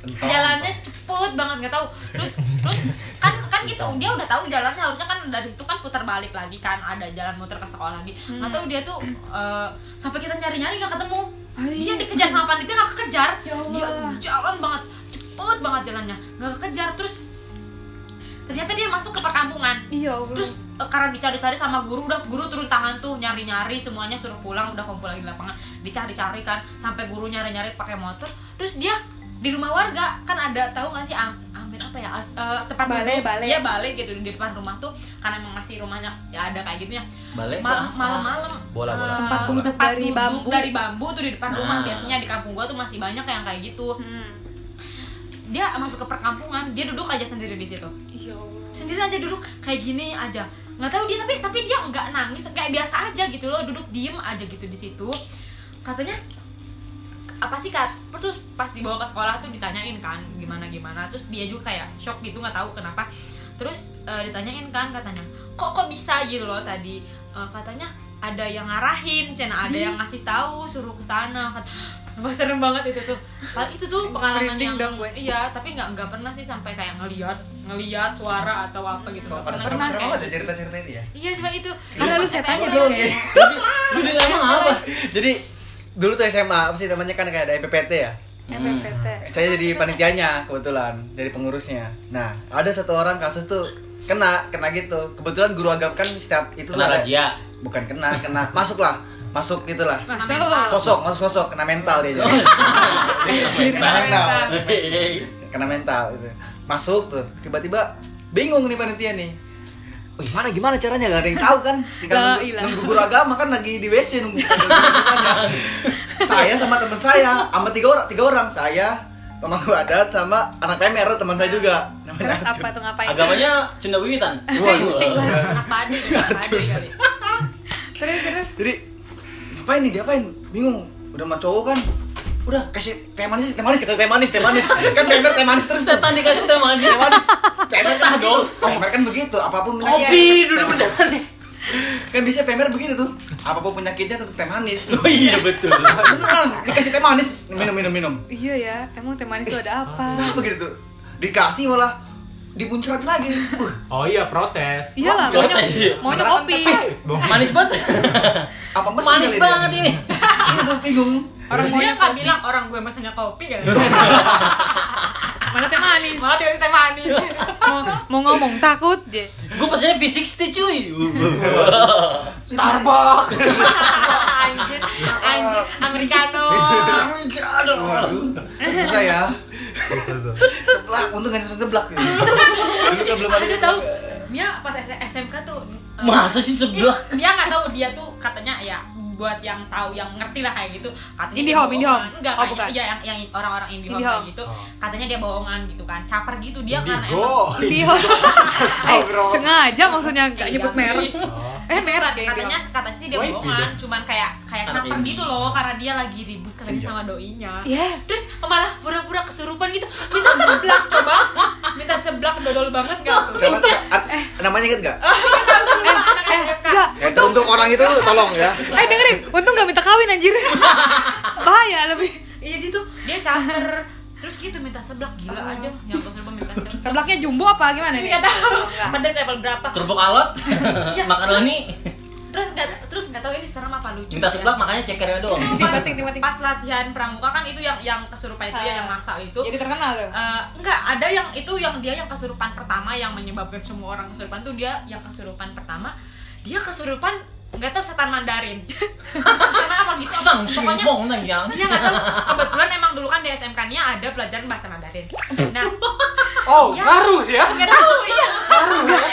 Speaker 5: jalannya cepet banget nggak tahu. Terus terus kan kan gitu dia udah tahu jalannya harusnya kan dari itu kan putar balik lagi kan ada jalan muter ke sekolah lagi.
Speaker 2: Hmm.
Speaker 5: Nggak tahu dia tuh eh, sampai kita nyari-nyari nggak ketemu. Dia dikejar sama panitia nggak kekejar.
Speaker 2: Ah, iya. Ya Allah.
Speaker 5: Dia jalan banget cepet banget jalannya nggak kekejar terus ternyata dia masuk ke perkampungan
Speaker 2: Iya, Allah.
Speaker 5: terus eh, karena dicari-cari sama guru udah guru turun tangan tuh nyari-nyari semuanya suruh pulang udah kumpul lagi di lapangan dicari-cari kan sampai guru nyari-nyari pakai motor terus dia di rumah warga kan ada tahu nggak sih am ambil apa ya as, eh, tempat
Speaker 2: Balai,
Speaker 5: duduk.
Speaker 2: balai.
Speaker 5: Iya, balai gitu di depan rumah tuh karena emang masih rumahnya ya ada kayak gitunya
Speaker 1: Balai
Speaker 5: Mal-
Speaker 1: tuh apa?
Speaker 5: malam-malam
Speaker 4: Bola, bola.
Speaker 5: eh,
Speaker 2: Tempat duduk dari
Speaker 5: duduk
Speaker 2: bambu.
Speaker 5: dari bambu tuh di depan rumah
Speaker 1: Nah.
Speaker 5: biasanya di kampung gua tuh masih banyak yang kayak gitu
Speaker 2: Hmm.
Speaker 5: dia masuk ke perkampungan dia duduk aja sendiri di situ
Speaker 2: Iya, Allah.
Speaker 5: sendiri aja duduk kayak gini aja nggak tahu dia tapi tapi dia nggak nangis kayak biasa aja gitu loh duduk diem aja gitu di situ katanya apa sih kak terus pas dibawa ke sekolah tuh ditanyain kan gimana gimana terus dia juga kayak shock gitu nggak tahu kenapa terus eh, ditanyain kan katanya kok kok bisa gitu loh tadi Eh, katanya ada yang ngarahin cina ada yang ngasih tahu suruh ke sana Kat- Wah, serem banget itu tuh Padahal itu tuh pengalaman
Speaker 2: Merinding
Speaker 5: yang
Speaker 2: dong gue.
Speaker 5: iya tapi nggak nggak pernah sih sampai kayak ngeliat ngeliat suara atau apa gitu nggak
Speaker 4: Pada
Speaker 5: pernah
Speaker 4: serem-serem amat ya cerita-cerita ini ya.
Speaker 5: iya cuma itu
Speaker 2: Karena lu
Speaker 5: Pas
Speaker 2: setannya
Speaker 5: SMA,
Speaker 2: dong.
Speaker 5: ya.
Speaker 1: Lu bilang emang apa?
Speaker 4: Jadi dulu tuh SMA apa sih namanya kan kayak ada EPPT ya.
Speaker 2: MPPT.
Speaker 4: Saya jadi panitianya kebetulan, jadi pengurusnya. Nah, ada satu orang kasus tuh kena, kena gitu. Kebetulan guru agama kan setiap itu tuh
Speaker 1: Kena
Speaker 4: ada-
Speaker 1: razia.
Speaker 4: Bukan kena, kena masuklah. Masuk gitulah.
Speaker 5: Kena
Speaker 2: Masuk.
Speaker 5: mental.
Speaker 4: Sosok, masuk sosok kena mental dia.
Speaker 1: Oh,
Speaker 4: kena mental. Kena mental gitu. Masuk tuh, tiba-tiba bingung nih panitia nih. Wih, mana gimana caranya gak ada yang tahu kan? Tinggal
Speaker 2: La
Speaker 4: nunggu,
Speaker 2: ilaha.
Speaker 4: nunggu guru agama kan lagi di WC nunggu. saya sama teman saya, sama tiga orang, tiga orang saya, pemangku adat sama anak PMR teman saya juga. Namanya
Speaker 2: Terus
Speaker 4: Ajun.
Speaker 2: apa tuh ngapain?
Speaker 1: Agamanya Sunda Wiwitan.
Speaker 4: Waduh.
Speaker 5: anak padi anak padi kali
Speaker 2: Terus terus.
Speaker 4: Jadi ngapain nih? Diapain? Bingung. Udah sama cowok kan? Udah kasih teh manis, teh manis kita teh manis, teh manis. Kan PMR teh manis terus.
Speaker 1: Setan dikasih teh manis.
Speaker 4: Pemer
Speaker 1: Betah dong.
Speaker 4: Pemer kan begitu, apapun penyakit.
Speaker 1: Kopi
Speaker 4: dulu teh manis. Kan bisa pemer begitu tuh. Apapun penyakitnya tetap teh manis.
Speaker 1: Oh iya betul.
Speaker 4: Beneran, dikasih teh manis, minum minum minum.
Speaker 2: Iya ya, emang teman itu ada apa?
Speaker 4: Apa gitu tuh? Dikasih malah dibuncrat lagi. Uh,
Speaker 3: Oh iya protes.
Speaker 2: Iyalah,
Speaker 1: Gua
Speaker 2: maunya
Speaker 1: tanya.
Speaker 2: maunya
Speaker 3: Beneran Gitu,
Speaker 2: kopi.
Speaker 3: tertarik dong.
Speaker 1: Manis banget.
Speaker 4: apa mesin
Speaker 1: Manis
Speaker 4: kali dia?
Speaker 1: banget ini.
Speaker 4: Iya, gua bingung.
Speaker 2: Orang
Speaker 5: dia
Speaker 2: maunya
Speaker 5: nggak bilang orang gue mesennya kopi kali
Speaker 2: mana teh manis.
Speaker 5: malah dia teh manis
Speaker 2: Mau, mau ngomong takut deh.
Speaker 1: Gue pesennya V60 cuy. Starbucks.
Speaker 5: anjir anjir americano
Speaker 4: Waduh, susah ya.
Speaker 3: gitu tuh
Speaker 4: seblak untung gak bisa seblak gitu
Speaker 5: Dia belum ada tahu. Dia pas S- SMK tuh eh,
Speaker 1: Masa sih sebelah?
Speaker 5: dia nggak tahu dia tuh katanya ya buat yang tahu yang ngerti lah kayak gitu katanya
Speaker 2: Indie
Speaker 5: dia
Speaker 2: home, indie
Speaker 5: bohongan.
Speaker 2: home.
Speaker 5: enggak
Speaker 2: Oh,
Speaker 5: kayaknya-
Speaker 2: bukan.
Speaker 5: iya, yang yang orang-orang indie,
Speaker 2: Indie
Speaker 5: home,
Speaker 2: home.
Speaker 5: kayak gitu
Speaker 3: Oh.
Speaker 5: katanya dia bohongan gitu kan caper gitu
Speaker 2: Iya,
Speaker 5: dia karena
Speaker 3: Indigo
Speaker 2: Di Iya. eh,
Speaker 3: Astagfirullah.
Speaker 2: sengaja maksudnya nggak nyebut merek.
Speaker 3: Oh.
Speaker 2: Eh merek ya
Speaker 5: Iya. katanya katanya sih dia
Speaker 3: Wave
Speaker 5: bohongan
Speaker 3: gitu.
Speaker 5: cuman kayak kayak
Speaker 1: Karena
Speaker 5: caper
Speaker 1: indie.
Speaker 5: gitu loh karena dia lagi ribut lagi sama doinya
Speaker 2: Iya.
Speaker 5: terus malah pura-pura kesurupan gitu minta seblak coba minta seblak dodol banget gak tuh
Speaker 4: Siapa- a- namanya inget gak?
Speaker 1: Ah,
Speaker 2: Eh, eh,
Speaker 5: Iya, kan?
Speaker 2: enggak.
Speaker 4: Ya, untuk orang itu tolong ya
Speaker 2: Eh dengerin, untung gak minta kawin anjir. Bahaya lebih.
Speaker 5: iya dia tuh dia caper terus gitu minta seblak gila aja yang kesurupan minta seblak
Speaker 2: Seblaknya jumbo apa gimana nih?
Speaker 5: nggak tahu
Speaker 2: Nggak.
Speaker 5: pedas level berapa
Speaker 1: Kerupuk alot,
Speaker 5: Iya.
Speaker 1: makaroni,
Speaker 5: terus nggak terus nggak tahu ini serem apa lucu
Speaker 1: minta
Speaker 5: ya.
Speaker 1: sebelah makanya cekernya doang.
Speaker 5: pas,
Speaker 2: Dimatiin, dimatiin.
Speaker 5: pas latihan pramuka kan itu yang yang kesurupan itu
Speaker 2: Ah.
Speaker 5: ya yang maksal itu
Speaker 2: Jadi terkenal tuh.
Speaker 5: Eh, enggak ada yang itu yang dia yang kesurupan pertama yang menyebabkan semua orang kesurupan tuh dia yang kesurupan pertama dia kesurupan nggak tahu setan Mandarin sama apa gitu
Speaker 1: Sang
Speaker 5: pokoknya
Speaker 1: simbong nang ya. yang.
Speaker 5: dia Iya, nggak tahu kebetulan emang dulu kan di SMK nya ada pelajaran bahasa Mandarin nah
Speaker 3: oh
Speaker 5: Iya.
Speaker 3: ngaruh ya
Speaker 5: nggak tahu iya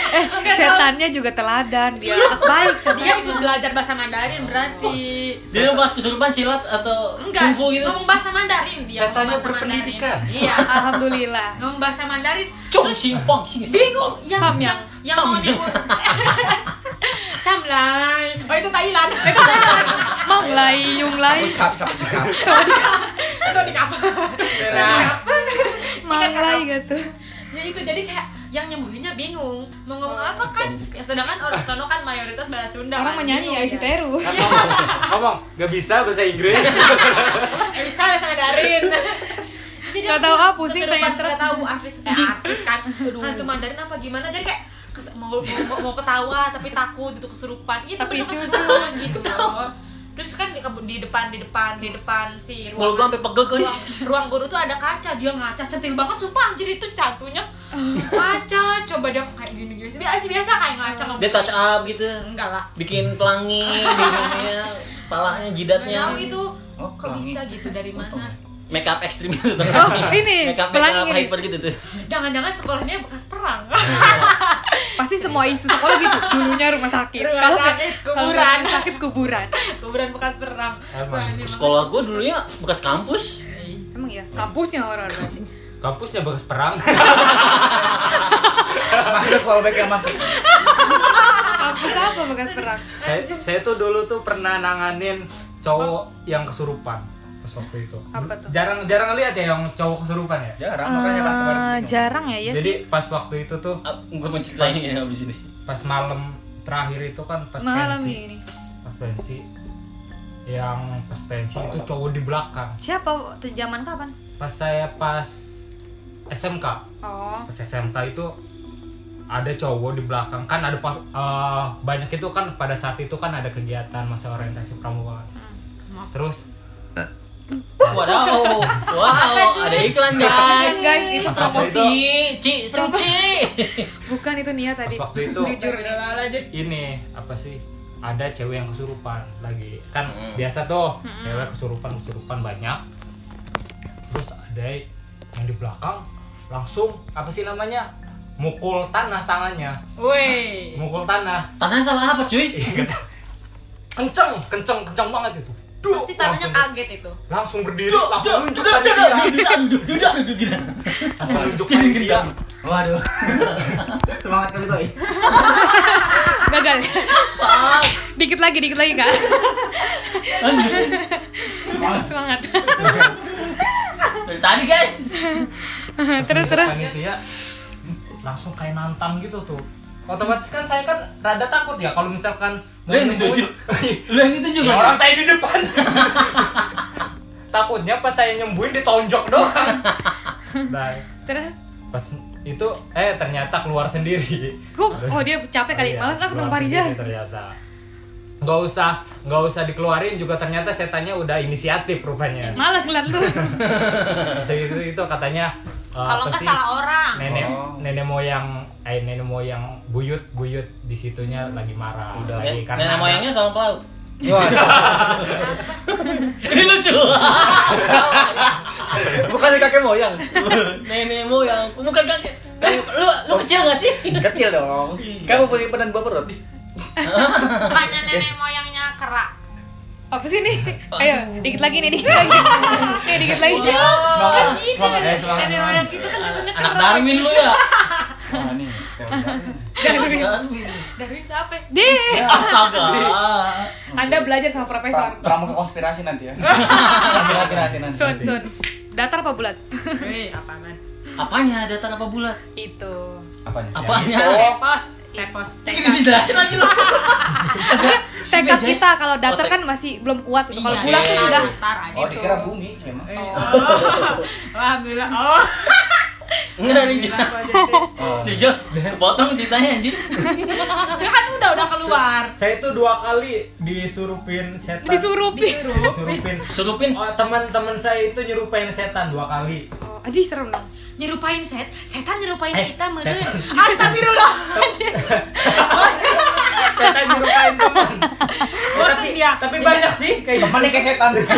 Speaker 2: Eh, setannya juga teladan, dia anak baik.
Speaker 5: dia ikut belajar bahasa Mandarin berarti
Speaker 1: Dia pas kesurupan silat atau
Speaker 5: enggak
Speaker 1: kungfu gitu.
Speaker 5: ngomong bahasa Mandarin dia
Speaker 3: Setannya
Speaker 5: ngomong bahasa
Speaker 3: berpendidikan.
Speaker 5: Mandarin. iya
Speaker 2: Alhamdulillah.
Speaker 5: ngomong bahasa Mandarin
Speaker 1: Cung simpong sing
Speaker 5: bingung yang
Speaker 2: Sam
Speaker 5: yang
Speaker 2: yang-
Speaker 5: yang mau
Speaker 1: Sam.
Speaker 5: nyebut Samlai oh itu Thailand
Speaker 2: Mau mulai nyung lai.
Speaker 4: kap kap kap
Speaker 5: so di kapal
Speaker 2: Malai gitu.
Speaker 5: ya itu jadi kayak yang nyembuhinnya bingung mau ngomong apa kan ya sedangkan orang sono kan mayoritas bahasa Sunda
Speaker 2: Orang
Speaker 5: kan,
Speaker 2: menyanyi
Speaker 5: bingung,
Speaker 2: Ari
Speaker 5: ya.
Speaker 2: Teru.
Speaker 3: ngomong, ngomong nggak bisa bahasa Inggris
Speaker 5: Eh, bisa bahasa Mandarin
Speaker 2: Nggak tahu ah, pusing, pengen
Speaker 5: terus nggak tahu artis eh, artis kan hantu Mandarin apa gimana jadi kayak kes- mau, mau mau ketawa tapi takut itu kesurupan itu
Speaker 2: Tapi
Speaker 5: bener
Speaker 2: itu-
Speaker 5: kesurupan gitu loh terus kan di, di depan di depan di depan si
Speaker 1: Mulut gua sampai pegel kali.
Speaker 5: ruang, ruang guru tuh ada kaca dia ngaca centil banget sumpah anjir itu catunya kaca coba dia kayak gini gini biasa biasa kayak ngaca
Speaker 1: Dia
Speaker 5: ngomong
Speaker 1: touch up gitu.
Speaker 5: enggak lah
Speaker 1: Bikin pelangi di dunia, palanya,
Speaker 5: nggak tahu
Speaker 1: jidatnya.
Speaker 5: itu
Speaker 4: Oh,
Speaker 5: kok
Speaker 4: pelangi.
Speaker 5: bisa gitu dari mana
Speaker 1: Make up ekstrim itu terus.
Speaker 2: Oh, ini,
Speaker 1: Make up make
Speaker 2: pelangi
Speaker 1: up
Speaker 2: ini.
Speaker 1: hyper gitu tuh.
Speaker 5: jangan-jangan sekolahnya bekas perang
Speaker 2: Pasti semua isu sekolah gitu. Dulunya rumah sakit.
Speaker 5: Rumah
Speaker 2: Kalau
Speaker 5: sakit,
Speaker 2: kalau
Speaker 5: kuburan.
Speaker 2: rumah sakit kuburan.
Speaker 5: kuburan bekas perang
Speaker 3: Emang.
Speaker 5: Wah, ini
Speaker 1: Sekolah gua dulunya bekas kampus.
Speaker 2: Emang ya, kampusnya orang berarti.
Speaker 3: kampusnya bekas perang
Speaker 4: masuk kalau baik yang masuk
Speaker 2: Kampus apa bekas perang?
Speaker 3: saya saya tuh dulu tuh pernah nanganin cowok yang kesurupan pas waktu itu
Speaker 2: Apa tuh?
Speaker 3: jarang jarang lihat ya yang cowok kesurupan ya
Speaker 4: jarang makanya pas kemarin
Speaker 2: Eh,
Speaker 4: bingung.
Speaker 2: jarang ya, ya sih.
Speaker 3: jadi pas waktu itu tuh
Speaker 1: Ah, Gua mau ceritain ya abis ini.
Speaker 3: pas malam terakhir itu kan pas
Speaker 2: Mengalami
Speaker 3: pensi
Speaker 2: ini.
Speaker 3: pas pensi ya yang pas pensi itu cowok di belakang
Speaker 2: Siapa waktu zaman kapan?
Speaker 3: pas saya pas SMK
Speaker 2: Oh,
Speaker 3: pas SMK itu ada cowok di belakang kan ada pas eh, banyak itu kan pada saat itu kan ada kegiatan masa orientasi pramuka kan. terus
Speaker 1: Wadaw, wow, ada iklan guys.
Speaker 2: Guys, itu
Speaker 1: Pasar Ci, Ci, Sing Ci.
Speaker 2: bukan itu Nia
Speaker 3: pas
Speaker 2: tadi.
Speaker 3: waktu itu
Speaker 2: Jujur nih.
Speaker 3: ini apa sih ada cewek yang kesurupan lagi kan
Speaker 1: Mm.
Speaker 3: biasa tuh cewek kesurupan kesurupan banyak terus ada yang di belakang langsung apa sih namanya mukul tanah tangannya
Speaker 5: woi
Speaker 3: mukul tanah Iya.
Speaker 1: Tanahnya salah apa cuy?
Speaker 3: kenceng kenceng kenceng banget itu Duh,
Speaker 5: pasti tanahnya
Speaker 3: langsung-
Speaker 5: kaget itu
Speaker 3: langsung berdiri
Speaker 1: Duh,
Speaker 3: langsung
Speaker 1: duh,
Speaker 3: nunjuk
Speaker 1: duh,
Speaker 3: pada
Speaker 1: duh,
Speaker 3: dia Gitu
Speaker 1: duh, duh, duh, duh, duh, duh, gitu.
Speaker 3: langsung nunjuk
Speaker 1: Jadi
Speaker 3: pada dia
Speaker 1: gendam. Waduh. Eh.
Speaker 4: semangat kali toy
Speaker 2: Gagal.
Speaker 1: Pak,
Speaker 2: dikit lagi, dikit lagi, Kak.
Speaker 1: Anjir.
Speaker 2: Semangat.
Speaker 1: Dari tadi guys.
Speaker 2: Terus,
Speaker 3: nunjuk
Speaker 2: terus.
Speaker 3: panitia, kan gitu ya. langsung kayak nantang gitu tuh otomatis kan saya kan rada takut ya kalau misalkan
Speaker 1: Lu yang ditunjuk. Lu yang ditunjuk kan?
Speaker 3: Ya, orang
Speaker 1: lagi.
Speaker 3: saya di depan takutnya pas saya nyembuhin ditonjok doang nah
Speaker 2: Terus.
Speaker 3: pas itu eh ternyata keluar sendiri
Speaker 2: Huh, oh dia capek kali.
Speaker 3: Iya,
Speaker 2: Males lah ketemu
Speaker 3: keluar
Speaker 2: Parija.
Speaker 3: sendiri ternyata nggak usah nggak usah dikeluarin juga ternyata setannya udah inisiatif rupanya
Speaker 2: Males ngeliat lu.
Speaker 3: pas itu itu katanya eh, apa
Speaker 5: kalau nggak
Speaker 3: sih,
Speaker 5: salah orang
Speaker 3: nenek
Speaker 4: Oh.
Speaker 3: nenek moyang eh nenek moyang buyut buyut di situnya lagi marah
Speaker 4: Udah.
Speaker 3: lagi karena
Speaker 1: Ya, Eh, Nenek
Speaker 3: ada-
Speaker 1: moyangnya sama pelaut.
Speaker 4: waduh
Speaker 1: Ini lucu.
Speaker 4: Bukannya kakek moyang.
Speaker 1: nenekmu yang bukan kakek Kakek- lu lu kecil gak sih
Speaker 4: Kecil dong.
Speaker 1: Iya.
Speaker 4: Kamu punya penan buah perut.
Speaker 5: Bukannya nenek moyangnya kerak.
Speaker 2: apa sih nih? Ayo, dikit lagi nih, dikit lagi. Nih, dikit lagi.
Speaker 3: Iya. Semangat, semangat ya, semangat.
Speaker 5: Kan
Speaker 3: semangat.
Speaker 5: gitu. Nenek moyang gitu kan katanya
Speaker 1: anak Darwin lu ya
Speaker 4: Nah, nih.
Speaker 1: Darwin
Speaker 5: dari capek.
Speaker 2: Deh,
Speaker 1: astaga
Speaker 2: Anda belajar sama profesor.
Speaker 4: Pramuka konspirasi nanti ya. Hati-hati nanti nanti.
Speaker 2: Sun, sun. Datar apa bulat?
Speaker 5: Hei, apaan?
Speaker 1: apanya datar apa bulat
Speaker 2: Itu.
Speaker 4: Apanya?
Speaker 1: apanya
Speaker 5: Tepos, tepos,
Speaker 1: itu dijelasin lagi lu
Speaker 2: Maksudnya tekad
Speaker 1: Jason.
Speaker 2: kita kalau datar
Speaker 1: Oh, tek-
Speaker 2: kan masih belum kuat gitu. Kalau
Speaker 5: Iya,
Speaker 2: bulat tuh
Speaker 5: iya,
Speaker 2: sudah
Speaker 5: Ntar aja.
Speaker 4: Oh, dikira bumi memang.
Speaker 5: Wah, gila. Oh,
Speaker 1: enggak
Speaker 3: Iya.
Speaker 1: nih
Speaker 5: gila gua jadi.
Speaker 4: Oh.
Speaker 1: Sigel, kepotong ceritanya anjir
Speaker 5: Ya kan udah udah keluar.
Speaker 3: Saya itu dua kali disurupin setan.
Speaker 2: disurupin.
Speaker 3: Disurupin.
Speaker 1: surupin
Speaker 3: Oh, teman-teman saya itu nyerupain setan dua kali.
Speaker 2: Oh, anjir serem dong.
Speaker 5: Nyerupain set, setan nyerupain
Speaker 3: Eh,
Speaker 5: kita meren.
Speaker 3: setan.
Speaker 5: Astagfirullah.
Speaker 3: Setan nyerupain teman.
Speaker 5: Bosan dia.
Speaker 3: Tapi banyak sih kayak
Speaker 4: Temannya kayak setan.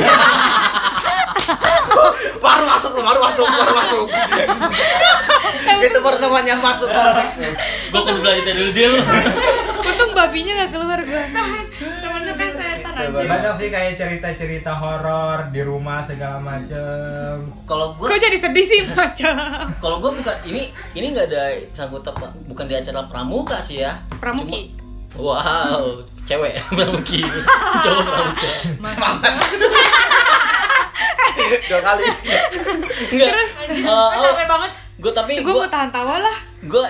Speaker 4: baru masuk, baru masuk, baru masuk. Itu pertemuan yang masuk.
Speaker 1: gua kudu belajar dulu dia lu
Speaker 2: Untung babinya gak keluar gua.
Speaker 1: Nah,
Speaker 5: Temennya kan setan
Speaker 4: Coba.
Speaker 5: aja.
Speaker 3: banyak sih kayak cerita-cerita horor di rumah segala macem.
Speaker 1: kalau gua
Speaker 2: Kok jadi sedih sih, macam.
Speaker 1: kalau gue bukan ini ini nggak ada sangkut apa bukan di acara pramuka sih ya
Speaker 2: Pramuki.
Speaker 1: Cuma- wow cewek pramuki cowok pramuka
Speaker 4: Dua kali.
Speaker 1: enggak
Speaker 3: Oh,
Speaker 5: Gua capek banget.
Speaker 1: gue Eh, oh, tapi
Speaker 2: Gue
Speaker 1: gue
Speaker 2: Ya, mau tahan tawa lah.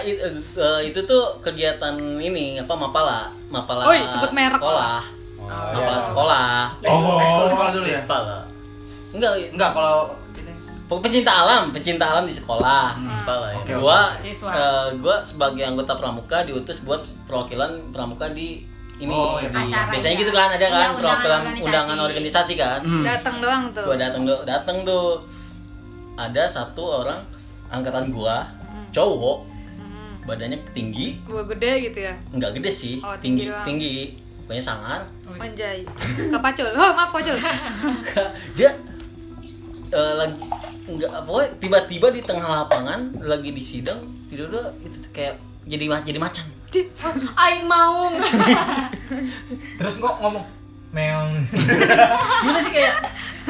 Speaker 1: eh, itu tuh kegiatan ini apa mapala mapala
Speaker 2: Oi, sebut merek.
Speaker 1: sekolah mapala
Speaker 4: iya.
Speaker 1: sekolah
Speaker 3: Oh.
Speaker 4: Ekskul dulu ya.
Speaker 6: Spala.
Speaker 1: enggak
Speaker 4: Oh. Enggak kalau ini.
Speaker 1: pe- pencinta alam pencinta alam di sekolah
Speaker 4: Hmm.
Speaker 6: Spala ya.
Speaker 4: Oke.
Speaker 1: gua
Speaker 5: Siswa.
Speaker 1: eh, gua sebagai anggota pramuka diutus buat perwakilan pramuka di ini
Speaker 4: Oh, iya,
Speaker 1: di-
Speaker 5: acara.
Speaker 1: biasanya gitu kan ada
Speaker 5: Iya,
Speaker 1: kan
Speaker 5: undangan
Speaker 1: perwakilan
Speaker 5: organisasi.
Speaker 1: undangan organisasi kan
Speaker 4: Hmm.
Speaker 2: Datang doang tuh.
Speaker 1: gua dateng tuh dateng tuh ada satu orang angkatan gua
Speaker 5: Hmm.
Speaker 1: cowok badannya tinggi
Speaker 2: Gua gede gitu ya.
Speaker 1: nggak gede sih
Speaker 2: Oh,
Speaker 1: tinggi
Speaker 2: tinggi doang.
Speaker 1: tinggi pokoknya sangar
Speaker 2: Anjay. Kapacul. Oh, maaf Pacul.
Speaker 1: dia eh, lagi nggak pokoknya tiba-tiba di tengah lapangan lagi di sidang tiba-tiba itu tuh kayak jadi ma- jadi macan
Speaker 5: Aing mau.
Speaker 3: Terus kok ngomong meong.
Speaker 1: gimana sih kayak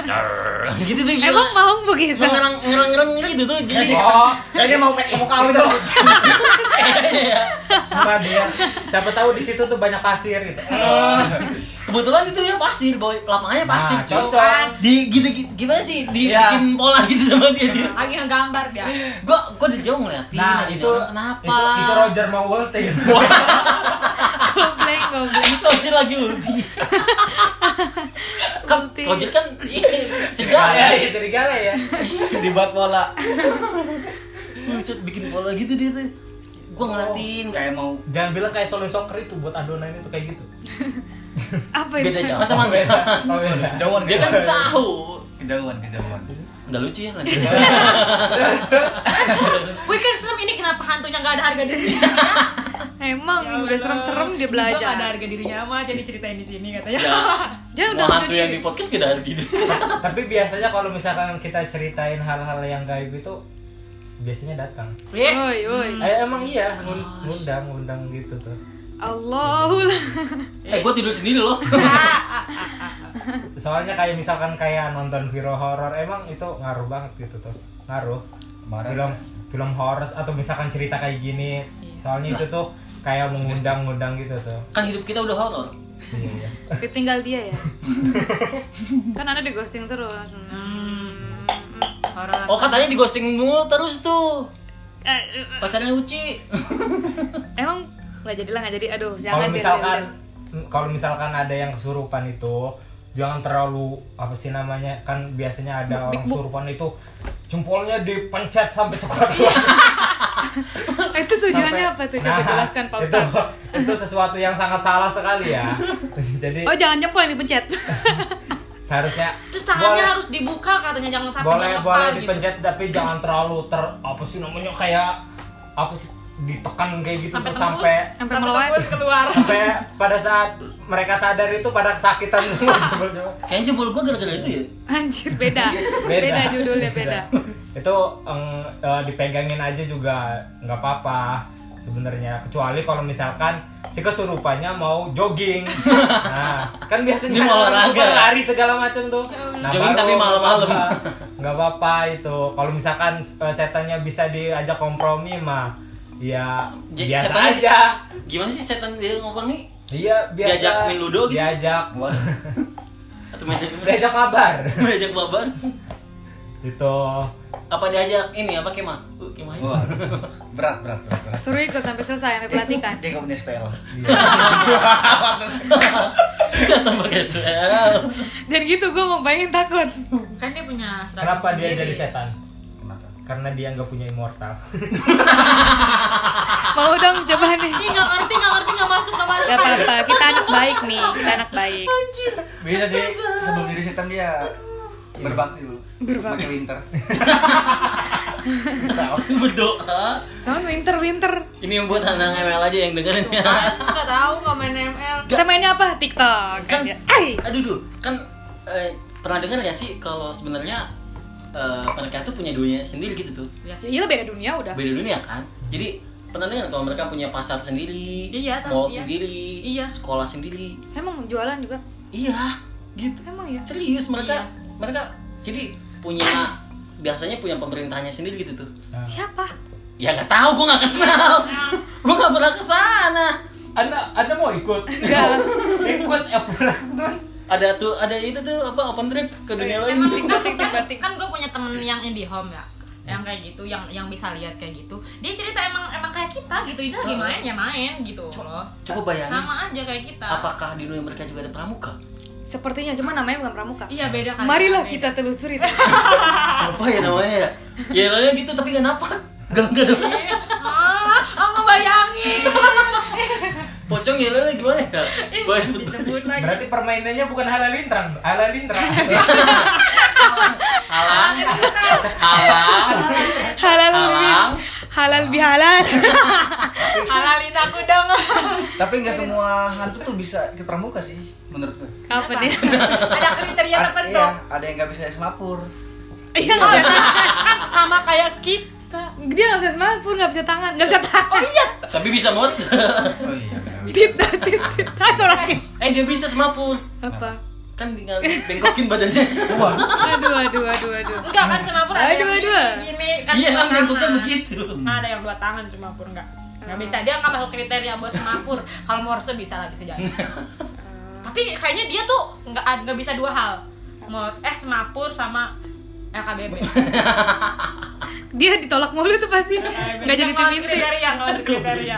Speaker 1: "Jar," gitu tuh gila.
Speaker 2: Emang mau begitu?
Speaker 1: Emang ngerang ngerang ngerang gitu tuh gini
Speaker 3: Oh,
Speaker 4: Kayaknya mau pe- mau kawin dong.
Speaker 3: Iya. apa dia? Siapa tahu di situ tuh banyak pasir gitu.
Speaker 1: kebetulan itu ya pasir boy lapangannya pasir
Speaker 3: Nah,
Speaker 1: cuy
Speaker 3: cocok.
Speaker 1: di gitu, gitu- gimana sih di,
Speaker 4: Iya.
Speaker 1: bikin pola gitu sama dia dia
Speaker 5: Lagi ngegambar dia.
Speaker 1: gua gua dari jauh ngeliatin aja,
Speaker 3: Nah, itu
Speaker 1: dia orang, Iya, kenapa
Speaker 3: Itu, itu Roger Maulte.
Speaker 2: Gobleng, gobleng.
Speaker 1: Roger lagi ulti kan
Speaker 2: Ulti.
Speaker 1: Roger kan iya, segala
Speaker 3: Serigala ya, serigala ya.
Speaker 4: Dibuat bola.
Speaker 1: Buset, bikin pola gitu dia tuh gua ngeliatin
Speaker 4: Kayak ya, mau
Speaker 3: Jangan bilang kayak Solin Soccer itu buat adonan itu kayak gitu.
Speaker 2: Apa ya, ini?
Speaker 1: beda jangan sama dia
Speaker 3: Oh, beda.
Speaker 4: kejauhan
Speaker 1: dia kan tahu
Speaker 4: kejauhan kejauhan.
Speaker 1: nggak lucu ya nanti
Speaker 5: Weekend kan serem ini kenapa hantunya nggak ada harga diri?
Speaker 2: Emang Ya udah serem-serem dia belajar.
Speaker 5: ada harga dirinya amat jadi ceritain di sini katanya.
Speaker 1: ya
Speaker 2: Dia
Speaker 1: semua
Speaker 2: udah
Speaker 1: hantu yang di
Speaker 2: ngerti.
Speaker 1: podcast gak ada gitu
Speaker 3: Tapi biasanya kalau misalkan kita ceritain hal-hal yang gaib itu biasanya datang.
Speaker 5: Wih,
Speaker 2: Woi, woi.
Speaker 3: Eh, emang iya, ngun- ngundang, ngundang gitu tuh.
Speaker 2: Allahu
Speaker 1: eh gua tidur sendiri loh
Speaker 3: Soalnya kayak misalkan kayak nonton video horor, emang itu ngaruh banget gitu tuh. Ngaruh.
Speaker 4: Kemarin
Speaker 3: Film film horor atau misalkan cerita kayak gini. Soalnya itu tuh kayak mengundang-undang gitu tuh.
Speaker 1: kan hidup kita udah horor
Speaker 3: Iya.
Speaker 2: Ditinggal dia ya. kan Anda di ghosting terus. Hmm. Eh,
Speaker 5: horor.
Speaker 1: oh katanya di ghosting mulu terus tuh pacarnya uci
Speaker 2: Emang nggak jadi lah nggak jadi. Aduh, jangan
Speaker 3: kalau
Speaker 2: deh,
Speaker 3: misalkan
Speaker 2: jangan.
Speaker 3: kalau misalkan ada yang kesurupan itu jangan terlalu apa sih namanya kan biasanya ada orang kesurupan itu jempolnya dipencet sampai sekuat
Speaker 2: Eh, itu tujuannya apa tuh? Coba
Speaker 3: Nah,
Speaker 2: jelaskan Pak
Speaker 3: itu,
Speaker 2: Ustadz.
Speaker 3: itu sesuatu yang sangat salah sekali ya jadi
Speaker 2: Oh, jangan jempol yang dipencet.
Speaker 3: seharusnya
Speaker 5: Terus tangannya
Speaker 3: boleh-
Speaker 5: harus dibuka katanya jangan sampai
Speaker 3: boleh
Speaker 5: dilepas
Speaker 3: boleh
Speaker 5: gitu.
Speaker 3: dipencet tapi jangan terlalu ter apa sih namanya kayak apa sih ditekan kayak gitu
Speaker 5: sampai
Speaker 3: terus
Speaker 5: tembus
Speaker 3: sampai
Speaker 2: Sampai meluap.
Speaker 5: tembus keluar
Speaker 3: sampai pada saat mereka sadar itu pada kesakitan semua jebol-jebol.
Speaker 1: Kayaknya jempol gue gara-gara itu ya.
Speaker 2: Anjir beda. beda. judulnya beda.
Speaker 3: itu eng, eh, dipegangin aja juga nggak apa-apa sebenarnya kecuali kalau misalkan si kesurupannya mau jogging nah kan biasanya
Speaker 1: Dia mau
Speaker 3: kan orang
Speaker 1: olahraga.
Speaker 3: lari segala macam tuh Nah,
Speaker 1: Jogging
Speaker 3: baru
Speaker 1: tapi
Speaker 3: nggak
Speaker 1: malam-malam.
Speaker 3: apa-apa. nggak apa-apa itu kalau misalkan eh, setannya bisa diajak kompromi mah ya
Speaker 1: J-
Speaker 3: biasa
Speaker 1: setannya di-
Speaker 3: aja
Speaker 1: Gimana sih setan dia ngomong nih?
Speaker 3: dia biasa
Speaker 1: Diajak main ludo gitu?
Speaker 3: diajak
Speaker 1: Atau main
Speaker 3: diajak Gitu. kabar
Speaker 1: diajak baban?
Speaker 3: itu
Speaker 1: Apa diajak ini apa kemah? Kemah.
Speaker 4: Wah, berat, berat, berat, berat.
Speaker 2: Suruh ikut sampai selesai sampai pelatihan.
Speaker 4: Dia nggak punya spell.
Speaker 1: Setan pakai suel.
Speaker 2: Dan gitu gue mau bayangin takut.
Speaker 5: kan dia punya seragam
Speaker 3: kenapa dia
Speaker 5: sendiri.
Speaker 3: jadi setan
Speaker 4: Kenapa?
Speaker 3: karena dia nggak punya immortal
Speaker 2: Mau dong coba nih.
Speaker 5: Ih, nggak ngerti nggak ngerti nggak masuk nggak masuk
Speaker 2: Gak apa-apa, kita anak baik nih, kita anak baik.
Speaker 4: Bisa sih sebelum jadi setan dia berbakti dulu.
Speaker 2: Berbakti.
Speaker 4: Pakai winter.
Speaker 1: Berdoa.
Speaker 2: Tahun winter winter.
Speaker 1: Ini yang buat anak ML aja yang dengerin ya.
Speaker 5: nggak tahu nggak main ML
Speaker 2: Kita mainnya apa? TikTok.
Speaker 1: Kan,
Speaker 2: aja. Ay.
Speaker 1: aduh, duh, kan eh, pernah dengar ya sih kalau sebenarnya eh, mereka tuh punya dunia sendiri gitu tuh.
Speaker 2: Ya, itu beda dunia udah.
Speaker 1: beda dunia kan jadi pernah dengar kalau mereka punya pasar sendiri
Speaker 5: Iya, tahu,
Speaker 1: mall
Speaker 5: iya.
Speaker 1: sendiri
Speaker 5: Iya.
Speaker 1: sekolah sendiri
Speaker 2: Emang jualan juga.
Speaker 1: iya gitu
Speaker 2: Emang ya.
Speaker 1: serius mereka mereka jadi punya biasanya punya pemerintahnya sendiri gitu tuh
Speaker 3: Ah.
Speaker 2: Siapa?
Speaker 1: ya nggak tahu gue nggak kenal gue nggak pernah ke sana
Speaker 3: Anda Anda mau ikut?
Speaker 2: Ya.
Speaker 3: ya, ikut Apron.
Speaker 1: ada tuh ada itu tuh apa open trip ke dunia lain
Speaker 5: emang kan,
Speaker 2: Batik,
Speaker 5: kan,
Speaker 2: batik.
Speaker 5: kan gue punya temen yang indie home ya yang kayak gitu, yang yang bisa lihat kayak gitu. Dia cerita emang emang kayak kita gitu, dia lagi main ya main gitu loh.
Speaker 1: coba bayangin
Speaker 5: Sama aja kayak kita.
Speaker 1: apakah di dunia mereka juga ada pramuka
Speaker 2: Sepertinya cuma namanya bukan pramuka.
Speaker 5: Iya beda kan.
Speaker 2: Marilah kita telusuri.
Speaker 1: apa ya namanya ya ya namanya gitu tapi nggak napak nggak nggak ada masuk.
Speaker 5: Ah, ah ngebayangin.
Speaker 1: pocong ya namanya gimana ya Bahas-
Speaker 5: Disebut lagi.
Speaker 3: Berarti permainannya bukan halalintrang, halalintrang.
Speaker 2: Ya.
Speaker 1: halang halang
Speaker 2: Halal
Speaker 1: Halal.
Speaker 2: lebih halal bihalal.
Speaker 5: Halalin aku dong.
Speaker 4: Tapi nggak semua hantu tuh bisa ikut pramuka sih, menurut gue.
Speaker 2: Apa nih?
Speaker 5: Ada kriteria
Speaker 1: Ah,
Speaker 4: Ad-
Speaker 5: tertentu.
Speaker 4: iya, ada yang nggak bisa es mapur.
Speaker 2: Iya nggak bisa
Speaker 5: Kan sama kayak kita.
Speaker 2: Dia nggak bisa semangat pun nggak bisa tangan, nggak bisa tangan. Oh iya.
Speaker 1: tapi bisa mods
Speaker 4: Oh iya. nggak bisa.
Speaker 2: Tita tita tita sorakin.
Speaker 1: eh dia bisa semapur
Speaker 2: Apa?
Speaker 1: kan tinggal bengkokin badannya
Speaker 4: Wah,
Speaker 2: Aduh aduh aduh aduh.
Speaker 5: Enggak kan semapur ada
Speaker 2: Aduh,
Speaker 5: yang
Speaker 2: aduh.
Speaker 5: gini, gini kan
Speaker 1: iya
Speaker 5: dua
Speaker 1: kan bengkoknya
Speaker 5: tangan.
Speaker 1: begitu
Speaker 5: Nah, ada yang dua tangan semapur enggak. Enggak bisa dia enggak masuk kriteria buat semapur. Kalau Morse bisa lagi sejauh. Tapi kayaknya dia tuh enggak enggak bisa dua hal. Mor eh semapur sama LKBB.
Speaker 2: Dia ditolak mulu tuh pasti. Nggak jadi tim inti.
Speaker 5: kriteria, enggak masuk kriteria.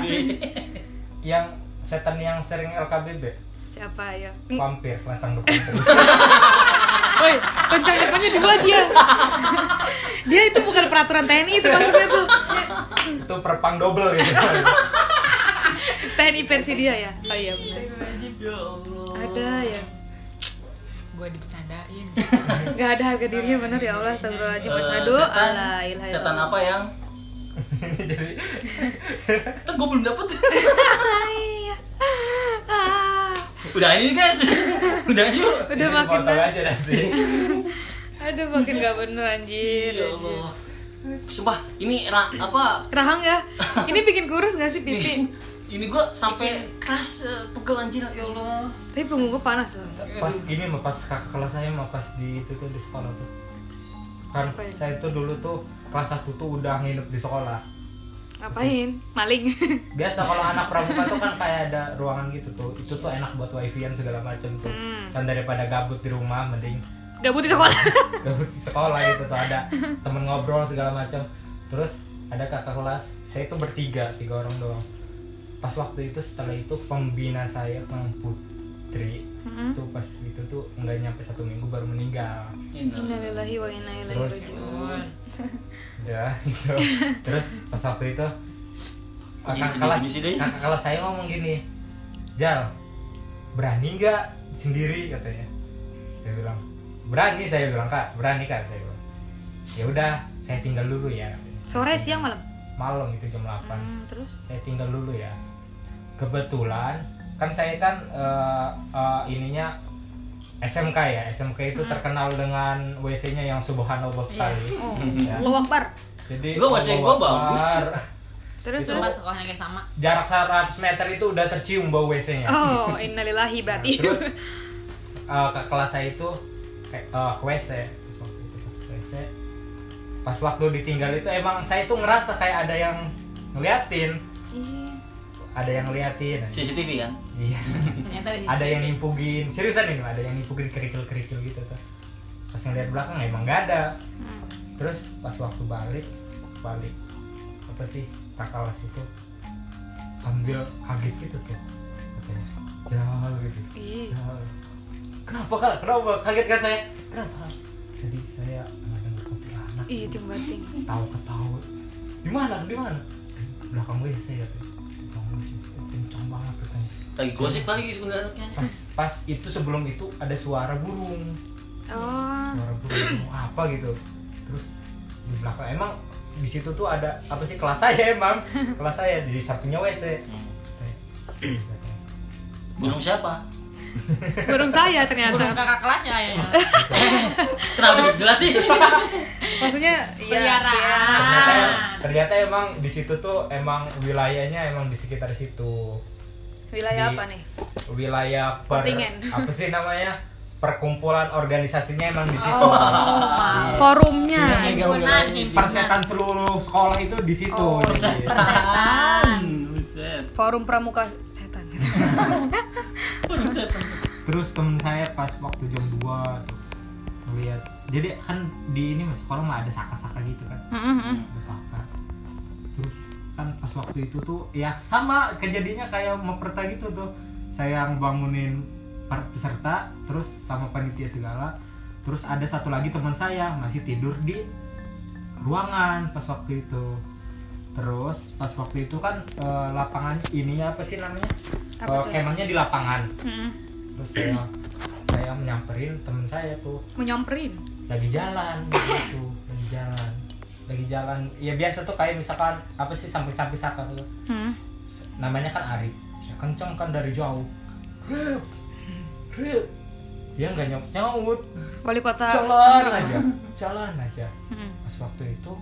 Speaker 3: yang setan yang sering LKBB,
Speaker 2: Siapa ya?
Speaker 3: vampir, lancang depan.
Speaker 2: Woi, kencang depannya dua dia. Dia itu bukan peraturan TNI itu maksudnya tuh.
Speaker 3: itu perpang double gitu.
Speaker 2: TNI versi dia ya. Oh iya benar.
Speaker 1: ya Allah
Speaker 2: Ada ya.
Speaker 5: Gue dibercandain.
Speaker 2: Gak ada harga dirinya bener ya Allah Astagfirullahaladzim Wasadu
Speaker 1: Eh, setan,
Speaker 2: ala ilaha
Speaker 1: setan
Speaker 2: illallah.
Speaker 1: apa yang
Speaker 3: Ini jadi
Speaker 1: tuh gue belum dapet
Speaker 2: Ah,
Speaker 1: udah ini guys udah aja yuk.
Speaker 2: Udah
Speaker 3: ini
Speaker 2: makin
Speaker 3: dipotong aja nanti.
Speaker 2: Aduh makin gak bener anjir
Speaker 1: ya Allah sumpah ini ra- apa
Speaker 2: Kerahang ya Ini bikin kurus gak sih pipi?
Speaker 1: ini gue sampai keras eh, pegel anjir ya Allah
Speaker 2: Tapi punggung gue panas loh
Speaker 3: Pas gini mah pas kakak kelas saya mah pas di itu tuh di sekolah tuh. Kan
Speaker 2: Apa ya?
Speaker 3: saya tuh dulu tuh kelas 1 tuh udah nginep di sekolah.
Speaker 2: Ngapain? Maling
Speaker 3: biasa kalau anak pramuka tuh kan kayak ada ruangan gitu tuh itu tuh enak buat wifi-an segala macam tuh
Speaker 2: Hmm.
Speaker 3: kan daripada gabut di rumah mending
Speaker 2: Gabut di sekolah
Speaker 3: gabut di sekolah gitu tuh ada temen ngobrol segala macam terus ada kakak kelas saya tuh bertiga tiga orang doang pas waktu itu setelah itu pembina saya Kang Putri
Speaker 2: Mm-mm.
Speaker 3: tuh pas itu tuh nggak nyampe satu minggu baru meninggal
Speaker 1: Iya.
Speaker 2: Innalillahi wa inna ilaihi
Speaker 3: Terus.
Speaker 2: raji'un
Speaker 3: ya gitu terus pas waktu itu
Speaker 1: Kok jadi
Speaker 3: kakak
Speaker 1: sedih
Speaker 3: kelas
Speaker 1: gini sih, Day?
Speaker 3: kakak kelas saya ngomong gini Jal berani nggak sendiri katanya saya bilang berani saya bilang kak berani kak saya bilang ya udah saya tinggal dulu ya katanya.
Speaker 2: Sore siang malam?
Speaker 3: malam itu jam 8
Speaker 2: Hmm, terus
Speaker 3: saya tinggal dulu ya kebetulan kan saya kan eh, eh, ininya SMK ya SMK
Speaker 2: Hmm.
Speaker 3: itu terkenal dengan WC-nya yang subhanallah sekali
Speaker 2: oh
Speaker 3: Ya.
Speaker 2: lu akbar
Speaker 3: jadi
Speaker 1: Gua WC gua
Speaker 3: kalau
Speaker 1: bagus.
Speaker 3: keluar,
Speaker 2: terus
Speaker 5: Itu
Speaker 2: terus
Speaker 5: pas sekolahnya kayak sama.
Speaker 3: jarak 100 meter itu udah tercium bau WC-nya
Speaker 2: oh innalillahi berarti
Speaker 3: Nah, terus eh, ke kelas saya itu kayak eh, ke WC Terus waktu itu pas ke WC, pas waktu ditinggal itu emang saya tuh ngerasa kayak ada yang ngeliatin
Speaker 2: Ih,
Speaker 3: ada yang ngeliatin
Speaker 1: CCTV kan
Speaker 3: iya
Speaker 5: Ternyata di
Speaker 3: ada yang nimpugin seriusan ini ada yang nimpugin kerikil kerikil gitu tuh pas ngeliat belakang ya emang gak ada
Speaker 2: hmm.
Speaker 3: terus pas waktu balik balik apa sih takalas itu sambil kaget gitu tuh katanya jauh gitu
Speaker 2: Ih.
Speaker 3: jauh kenapa kak kenapa kaget kan saya kenapa jadi saya mendengar kuntilanak
Speaker 2: Ih, tim bating.
Speaker 3: tahu ketahu di mana di mana "Di belakang wc katanya belakang wc Oh, kencang banget katanya
Speaker 1: lagi gosip kali sebenarnya
Speaker 3: pas pas itu sebelum itu ada suara burung
Speaker 2: Oh,
Speaker 3: suara burung mau apa gitu terus di belakang emang di situ tuh ada apa sih kelas saya emang kelas saya di sampingnya wc
Speaker 1: Hmm. burung siapa
Speaker 2: burung saya
Speaker 5: burung
Speaker 2: ternyata.
Speaker 5: kakak kelasnya ya.
Speaker 3: Iya,
Speaker 1: kenapa lebih jelas sih
Speaker 2: Maksudnya iya.
Speaker 3: ternyata,
Speaker 5: Peliharaan.
Speaker 2: Ah.
Speaker 3: ternyata emang di situ tuh emang wilayahnya emang di sekitar situ
Speaker 2: Wilayah
Speaker 3: Di-
Speaker 2: apa nih?
Speaker 3: wilayah per
Speaker 2: Kontingen.
Speaker 3: apa sih namanya perkumpulan organisasinya emang di situ
Speaker 2: Oh, Iya. Forumnya.
Speaker 1: Mega
Speaker 5: Gua
Speaker 1: wilayahnya
Speaker 5: nangis.
Speaker 1: sih.
Speaker 3: persetan seluruh sekolah itu di situ
Speaker 2: Oh,
Speaker 3: Jadi,
Speaker 1: Persetan. Buset.
Speaker 2: Forum pramuka setan.
Speaker 1: Persetan.
Speaker 3: terus temen saya pas waktu jam 2 tuh ngeliat jadi kan di ini mas sekolah mah ada saka-saka gitu kan ada saka terus kan pas waktu itu tuh ya sama kejadiannya kayak memperta gitu tuh saya yang bangunin para peserta terus sama panitia segala terus ada satu lagi teman saya masih tidur di ruangan pas waktu itu terus pas waktu itu kan eh, lapangan ininya apa sih namanya
Speaker 2: Apa
Speaker 3: Eh,
Speaker 2: tuh?
Speaker 3: kemahnya di lapangan
Speaker 2: Mm-mm.
Speaker 3: terus saya saya menyamperin temen saya tuh
Speaker 2: Mau nyamperin.
Speaker 3: lagi jalan gitu lagi jalan lagi jalan ya biasa tuh kayak misalkan apa sih samping-samping saka tuh
Speaker 2: Hmm.
Speaker 3: namanya kan Ari saya kenceng kan dari jauh Rip, rip. dia nggak nyaut nyaut
Speaker 2: Wali kota.
Speaker 3: jalan
Speaker 2: Tangerang.
Speaker 3: aja jalan aja
Speaker 2: Mm-mm.
Speaker 3: pas waktu itu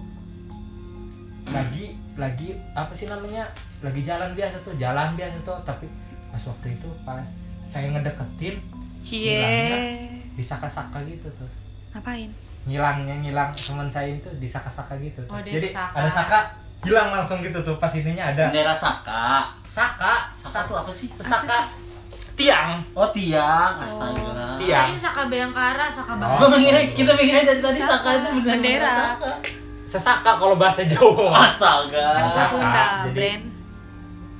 Speaker 3: lagi lagi apa sih namanya lagi jalan biasa tuh jalan biasa tuh tapi pas waktu itu pas saya ngedeketin
Speaker 2: Cie.
Speaker 3: di saka-saka gitu tuh
Speaker 2: Ngapain?
Speaker 3: Nah, ngilangnya ngilang teman saya itu di saka-saka gitu tuh.
Speaker 5: Oh, dia
Speaker 3: jadi
Speaker 5: di saka.
Speaker 3: ada saka hilang langsung gitu tuh pas ininya ada
Speaker 1: Bendera Saka.
Speaker 3: saka
Speaker 1: Saka Oh.
Speaker 3: satu
Speaker 1: tuh apa sih?
Speaker 3: saka tiang
Speaker 1: Oh tiang, astaga.
Speaker 3: Tiang.
Speaker 5: Ini Saka Bayangkara, Saka
Speaker 3: Oh.
Speaker 5: Bayangkara.
Speaker 1: Gue mengira kita mengira dari tadi Saka itu benar
Speaker 2: Bendera.
Speaker 1: Saka.
Speaker 3: sesaka kalau bahasa
Speaker 1: Oh.
Speaker 3: Jawa
Speaker 1: Astaga.
Speaker 2: Bahasa
Speaker 3: Saka,
Speaker 2: Sunda,
Speaker 3: jadi-
Speaker 2: brand.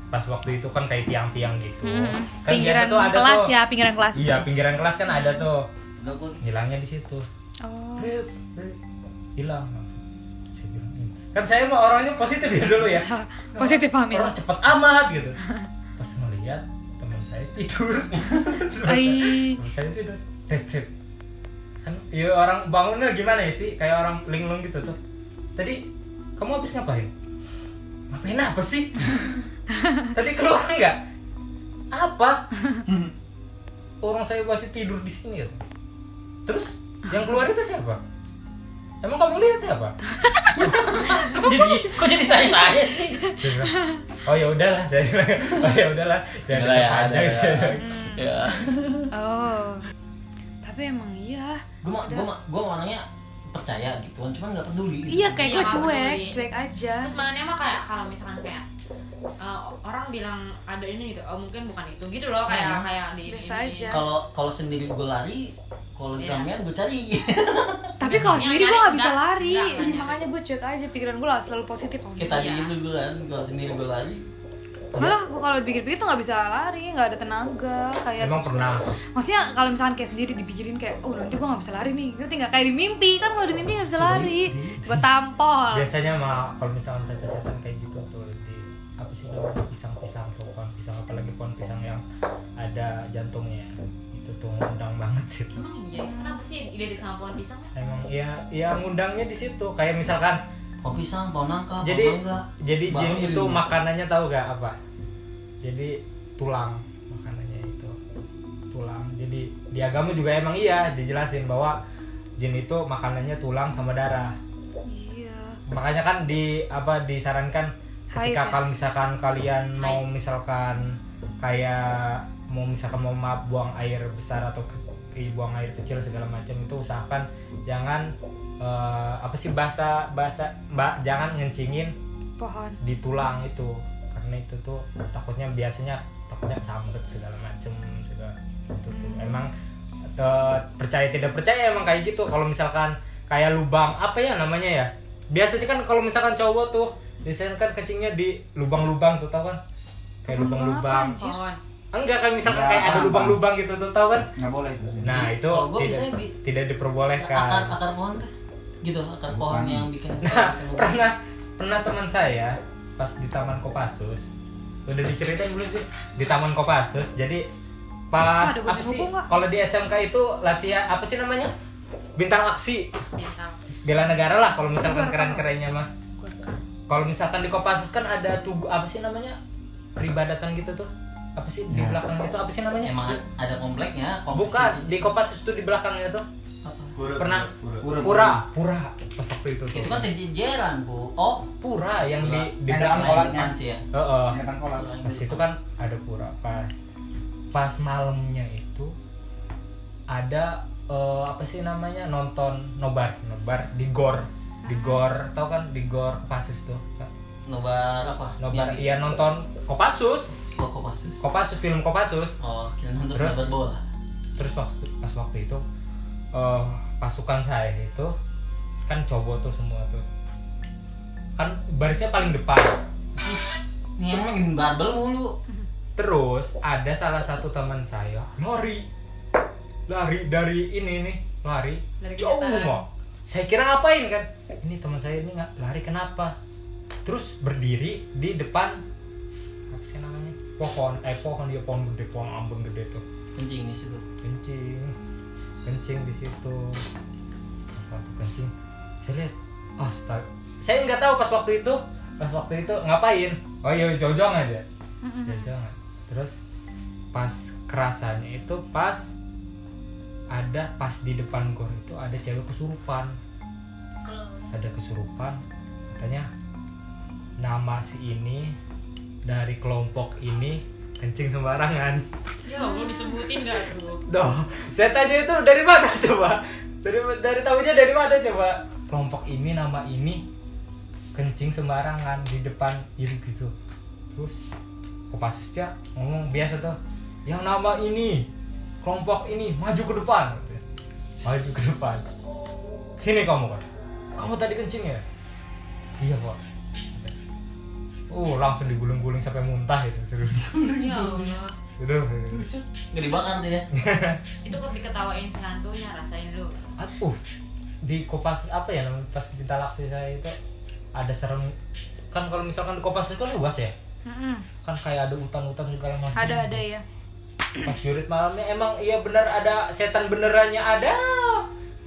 Speaker 3: pas waktu itu kan kayak tiang-tiang gitu
Speaker 2: Mm-mm.
Speaker 3: kan biasa
Speaker 2: Hmm, Pinggiran
Speaker 3: tuh ada
Speaker 2: kelas
Speaker 3: tuh
Speaker 2: ya, pinggiran kelas.
Speaker 3: iya pinggiran kelas kan ada tuh
Speaker 1: Enggak gue.
Speaker 3: hilangnya di situ
Speaker 2: Oh.
Speaker 3: Rip, rip. hilang langsung. Saya bilang, "Ini." kan saya mah orangnya positif ya dulu ya
Speaker 2: Positif ya? hamil.
Speaker 3: orang cepet amat gitu pas ngeliat teman saya tidur
Speaker 2: Ai.
Speaker 3: Temen saya tidur Rip, rip. kan ya orang bangunnya gimana ya sih kayak orang linglung gitu tuh tadi kamu habis ngapain ngapain apa sih tadi keluar nggak apa orang saya masih tidur di sini gitu. terus yang keluar itu siapa emang kamu lihat siapa
Speaker 1: Kok jadi kok jadi tanya tanya sih?
Speaker 3: Dia bilang, oh ya udahlah saya bilang, oh ya udahlah jangan
Speaker 1: Udahlah ya,
Speaker 3: aja
Speaker 1: udahlah.
Speaker 3: saya bilang.
Speaker 1: Ya.
Speaker 2: Oh. Tapi emang iya.
Speaker 1: Gue mah gue mah gue orangnya percaya gituan, cuman nggak peduli. gitu.
Speaker 2: Iya kayak
Speaker 5: Iya,
Speaker 2: gue
Speaker 5: nggak
Speaker 2: cuek,
Speaker 5: peduli.
Speaker 2: cuek aja.
Speaker 5: Terus sebenarnya mah kayak kalau misalkan kayak eh, orang bilang ada ini gitu, oh mungkin bukan itu gitu loh kayak kayak di
Speaker 2: Biasa
Speaker 5: ini.
Speaker 2: aja.
Speaker 1: Kalau kalau sendiri gue lari, kalau
Speaker 5: Iya.
Speaker 1: gamean gue cari.
Speaker 2: Tapi kalau
Speaker 5: Yang
Speaker 2: sendiri gue
Speaker 5: nyari
Speaker 2: gak bisa
Speaker 5: nggak-
Speaker 2: lari.
Speaker 5: nggak, nggak nyari.
Speaker 2: Makanya gue cuek aja, pikiran gue lah selalu positif. Om.
Speaker 1: Kita
Speaker 3: Iya.
Speaker 1: di itu gue kan, kalau sendiri gue lari.
Speaker 2: Soalnya gue kalau dipikir-pikir tuh gak bisa lari, gak ada tenaga. Kayak
Speaker 3: emang pernah
Speaker 2: Maksudnya kalau misalkan kayak sendiri dipikirin kayak, oh nanti gue gak bisa lari nih. Ngerti gak? Kayak di mimpi, kan kalau di mimpi gak bisa lari. Gue tampol.
Speaker 3: biasanya mah kalau misalkan setan-setan kayak gitu tuh di apa sih namanya pisang-pisang tuh pohon pisang apalagi pohon pisang yang ada jantungnya itu tuh ngundang banget itu
Speaker 5: Emang iya, itu kenapa sih identik sama pohon pisang? ya?
Speaker 3: emang ya ya ngundangnya di situ kayak misalkan
Speaker 1: Kok pisang, pohon nangka,
Speaker 3: jadi
Speaker 1: pohon mangga.
Speaker 3: jadi jin
Speaker 1: Baru beli
Speaker 3: itu
Speaker 1: dulu.
Speaker 3: makanannya tahu gak apa jadi tulang makanannya itu tulang jadi di agama juga emang iya dijelasin bahwa jin itu makanannya tulang sama darah
Speaker 2: Iya.
Speaker 3: makanya kan di apa disarankan
Speaker 2: Haid
Speaker 3: ketika
Speaker 2: ya?
Speaker 3: kalau misalkan kalian mau misalkan kayak mau misalkan mau ma- buang air besar atau ke- ke- buang air kecil segala macam itu usahakan jangan eh, apa sih bahasa bahasa mbak jangan ngencingin
Speaker 2: Pohon.
Speaker 3: di tulang itu karena itu tuh takutnya biasanya takutnya sambet segala macem segala itu tuh emang eh, percaya tidak percaya emang kayak gitu kalau misalkan kayak lubang apa ya namanya ya biasanya kan kalau misalkan cowok tuh biasanya kan kencingnya di lubang-lubang tuh tau kan kayak lubang-lubang
Speaker 2: Anjir.
Speaker 5: Pohon.
Speaker 3: enggak kan misalkan
Speaker 4: Enggak,
Speaker 3: kayak ada
Speaker 4: paham,
Speaker 3: lubang-lubang gitu tuh tau kan
Speaker 4: nggak boleh itu
Speaker 3: nah itu
Speaker 1: Kalau gua
Speaker 3: tidak
Speaker 1: biasanya di-
Speaker 3: tidak
Speaker 1: akar
Speaker 3: diperbolehkan
Speaker 1: akar pohon teh gitu akar pohon yang bikin
Speaker 3: pernah pernah teman saya pas di taman Kopassus udah diceritain belum sih di taman Kopassus jadi pas
Speaker 2: Ada
Speaker 3: apa
Speaker 2: gunanya
Speaker 3: sih
Speaker 2: hukum nggak?
Speaker 3: kalau di SMK itu latihan apa sih namanya bintang aksi
Speaker 5: Bintang.
Speaker 3: bela negara lah kalau misalkan
Speaker 2: Bukan.
Speaker 3: keren kerennya mah kalau misalkan di Kopassus kan ada tugu apa sih namanya peribadatan gitu tuh apa sih di
Speaker 4: Ya.
Speaker 3: belakang itu apa sih namanya
Speaker 1: emang ada kompleknya kompleks
Speaker 3: bukan
Speaker 1: itu.
Speaker 3: di Kopassus tuh di belakangnya tuh
Speaker 1: Apa?
Speaker 3: pernah
Speaker 4: Pura-pura.
Speaker 3: pura pura pas waktu itu
Speaker 1: itu
Speaker 3: tuh.
Speaker 1: kan sejejeran bu oh
Speaker 3: pura yang di di
Speaker 4: Yang
Speaker 3: belakang
Speaker 4: kolak. kolaknya.
Speaker 1: Depan sih ya
Speaker 3: Heeh.
Speaker 4: Ingatan kolak.
Speaker 3: pas itu kan ada pura pas pas malamnya itu ada eh, apa sih namanya nonton nobar nobar di gor di
Speaker 1: Ah.
Speaker 3: gor tau kan di gor pasus tuh
Speaker 1: nobar apa
Speaker 3: nobar
Speaker 1: Yang di-
Speaker 3: iya nonton kopasus
Speaker 1: oh kopassus
Speaker 3: kopasus film kopasus
Speaker 1: oh kira nonton
Speaker 3: Terus?
Speaker 1: nobar bola
Speaker 3: terus waktu pas waktu itu eh, pasukan saya itu kan cowok tuh semua tuh kan barisnya paling depan
Speaker 1: ini emang main barbel mulu
Speaker 3: Terus ada salah satu teman saya lari, lari dari ini nih, lari
Speaker 5: Dari
Speaker 3: jauh
Speaker 5: kenyataan.
Speaker 3: mau. Saya kira ngapain kan? Ini teman saya ini nggak lari kenapa? Terus berdiri di depan apa sih namanya? Pohon, eh pohon dia pohon gede, pohon ambon gede tuh
Speaker 1: kencing di situ
Speaker 3: kencing kencing di situ pas waktu kencing saya lihat astaga saya nggak tahu pas waktu itu pas waktu itu ngapain oh iya jojong aja jojongan terus pas kerasanya itu pas ada pas di depan gor itu ada cewek kesurupan ada kesurupan katanya nama si ini dari kelompok ini kencing sembarangan
Speaker 5: Ya Allah disebutin gak tuh?
Speaker 3: Duh, saya tanya itu dari mana coba? Dari dari tahunya dari mana coba? Kelompok ini nama ini kencing sembarangan di depan iru gitu. Terus Kopassusnya ngomong biasa tuh, yang nama ini kelompok ini maju ke depan. gitu ya. Maju ke depan. Sini kamu kan. Kamu tadi kencing ya? Iya pak. Oh langsung digulung-guling sampai muntah itu seru.
Speaker 5: Ya Allah.
Speaker 3: Aduh.
Speaker 1: nggak dibakar tuh ya
Speaker 5: Itu kok diketawain sehantunya rasain dulu.
Speaker 3: aku di kopas apa ya namanya pas di talaksi saya itu ada serem kan kalau misalkan di kopas itu kan luas ya
Speaker 2: Mm-mm.
Speaker 3: kan kayak ada hutan-hutan segala macam
Speaker 2: Ada ada ya.
Speaker 3: pas jurit malamnya emang iya benar ada setan benerannya ada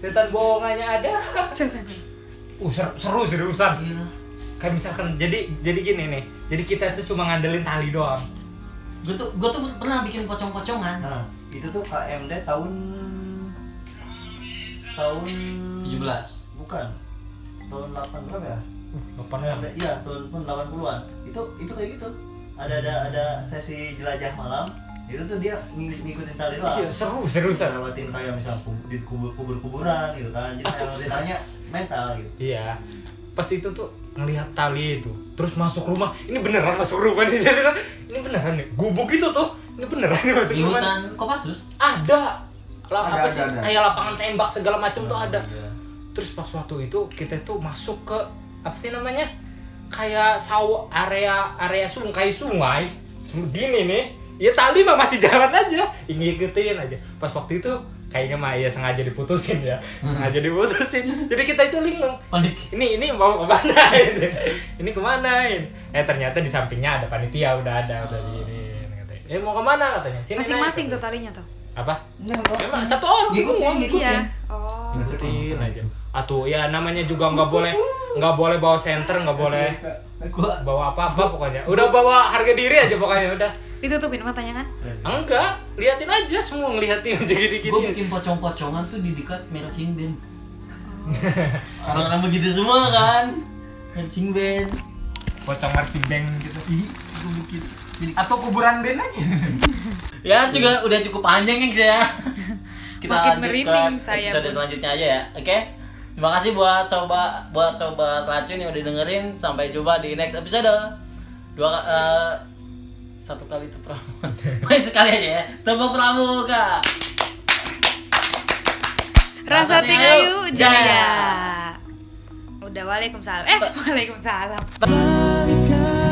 Speaker 3: setan bohongannya ada
Speaker 2: Cerita.
Speaker 3: uh seru, seru seriusan
Speaker 2: Iya.
Speaker 1: Gila.
Speaker 3: kayak misalkan jadi jadi gini nih jadi kita itu cuma ngandelin tali doang
Speaker 1: gue tuh gue tuh pernah bikin pocong-pocongan
Speaker 4: Nah, itu tuh KMD tahun tahun
Speaker 1: 17
Speaker 4: bukan tahun 8 berapa
Speaker 3: Oh, iya.
Speaker 4: ya?
Speaker 3: Apaan ya?
Speaker 4: Iya, tahun tahun 80-an. Itu itu kayak gitu. Ada ada
Speaker 3: Hmm.
Speaker 4: ada sesi jelajah malam. Itu tuh dia ngik- ngikutin tali doang.
Speaker 3: iya seru seriusan
Speaker 4: lewatin kayak misal kub- di kubur kubur kuburan gitu kan jadi kalau ditanya mental gitu
Speaker 3: Iya. Pas itu tuh ngelihat tali itu, terus masuk rumah. Ini beneran masuk rumah nih jadi kan? Ini beneran nih. Gubuk itu tuh, ini beneran nih masuk
Speaker 1: di
Speaker 3: rumah.
Speaker 1: hutan kopassus
Speaker 3: Ada. Lah, apa
Speaker 4: Ada, ada,
Speaker 3: sih?
Speaker 4: ada.
Speaker 3: Kayak lapangan tembak segala macam tuh ada.
Speaker 4: Iya.
Speaker 3: Terus pas waktu itu kita tuh masuk ke apa sih namanya? Kayak saw area area sungai sungai. Cuma gini nih. Ya tali mah masih jalan aja, ngikutin aja. Pas waktu itu kayaknya mah ya sengaja diputusin ya. Sengaja diputusin. Jadi kita itu linglung
Speaker 1: panik
Speaker 3: ini ini mau kemana ini ini kemana ini eh ternyata di sampingnya ada panitia udah ada udah di ini katanya. eh mau kemana katanya Sini naik.
Speaker 2: Masing-masing tuh talinya tuh.
Speaker 3: apa emang satu orang sih
Speaker 5: ya,
Speaker 4: Ngikutin,
Speaker 3: gua
Speaker 4: ngikutin.
Speaker 2: Iya. Oh.
Speaker 3: ngikutin aja atau ya namanya juga nggak boleh nggak boleh bawa senter nggak boleh bawa apa apa pokoknya udah bawa harga diri aja pokoknya udah
Speaker 2: Ditutupin matanya kan?
Speaker 3: enggak liatin aja semua ngeliatin aja gini
Speaker 1: gue
Speaker 3: gini
Speaker 1: bikin pocong-pocongan tuh di dekat merah cingben orang-orang begitu semua kan merah cingben
Speaker 3: potong marching band gitu ih gue bikin Jadi- atau kuburan band aja
Speaker 1: ya juga udah cukup panjang gengs ya kita
Speaker 2: Makin
Speaker 1: lanjutkan
Speaker 2: merinding saya
Speaker 1: episode
Speaker 2: pun.
Speaker 1: selanjutnya aja ya oke terima kasih buat coba buat coba racun yang udah dengerin sampai jumpa di next episode dua ka- eh, satu kali itu pramuka Baik sekali aja ya tepuk pramuka
Speaker 2: Rasa
Speaker 1: Rasanya
Speaker 2: Ayu
Speaker 1: yuk,
Speaker 2: jaya.
Speaker 1: jaya.
Speaker 2: Udah waalaikumsalam. Eh, waalaikumsalam.
Speaker 6: Bangkai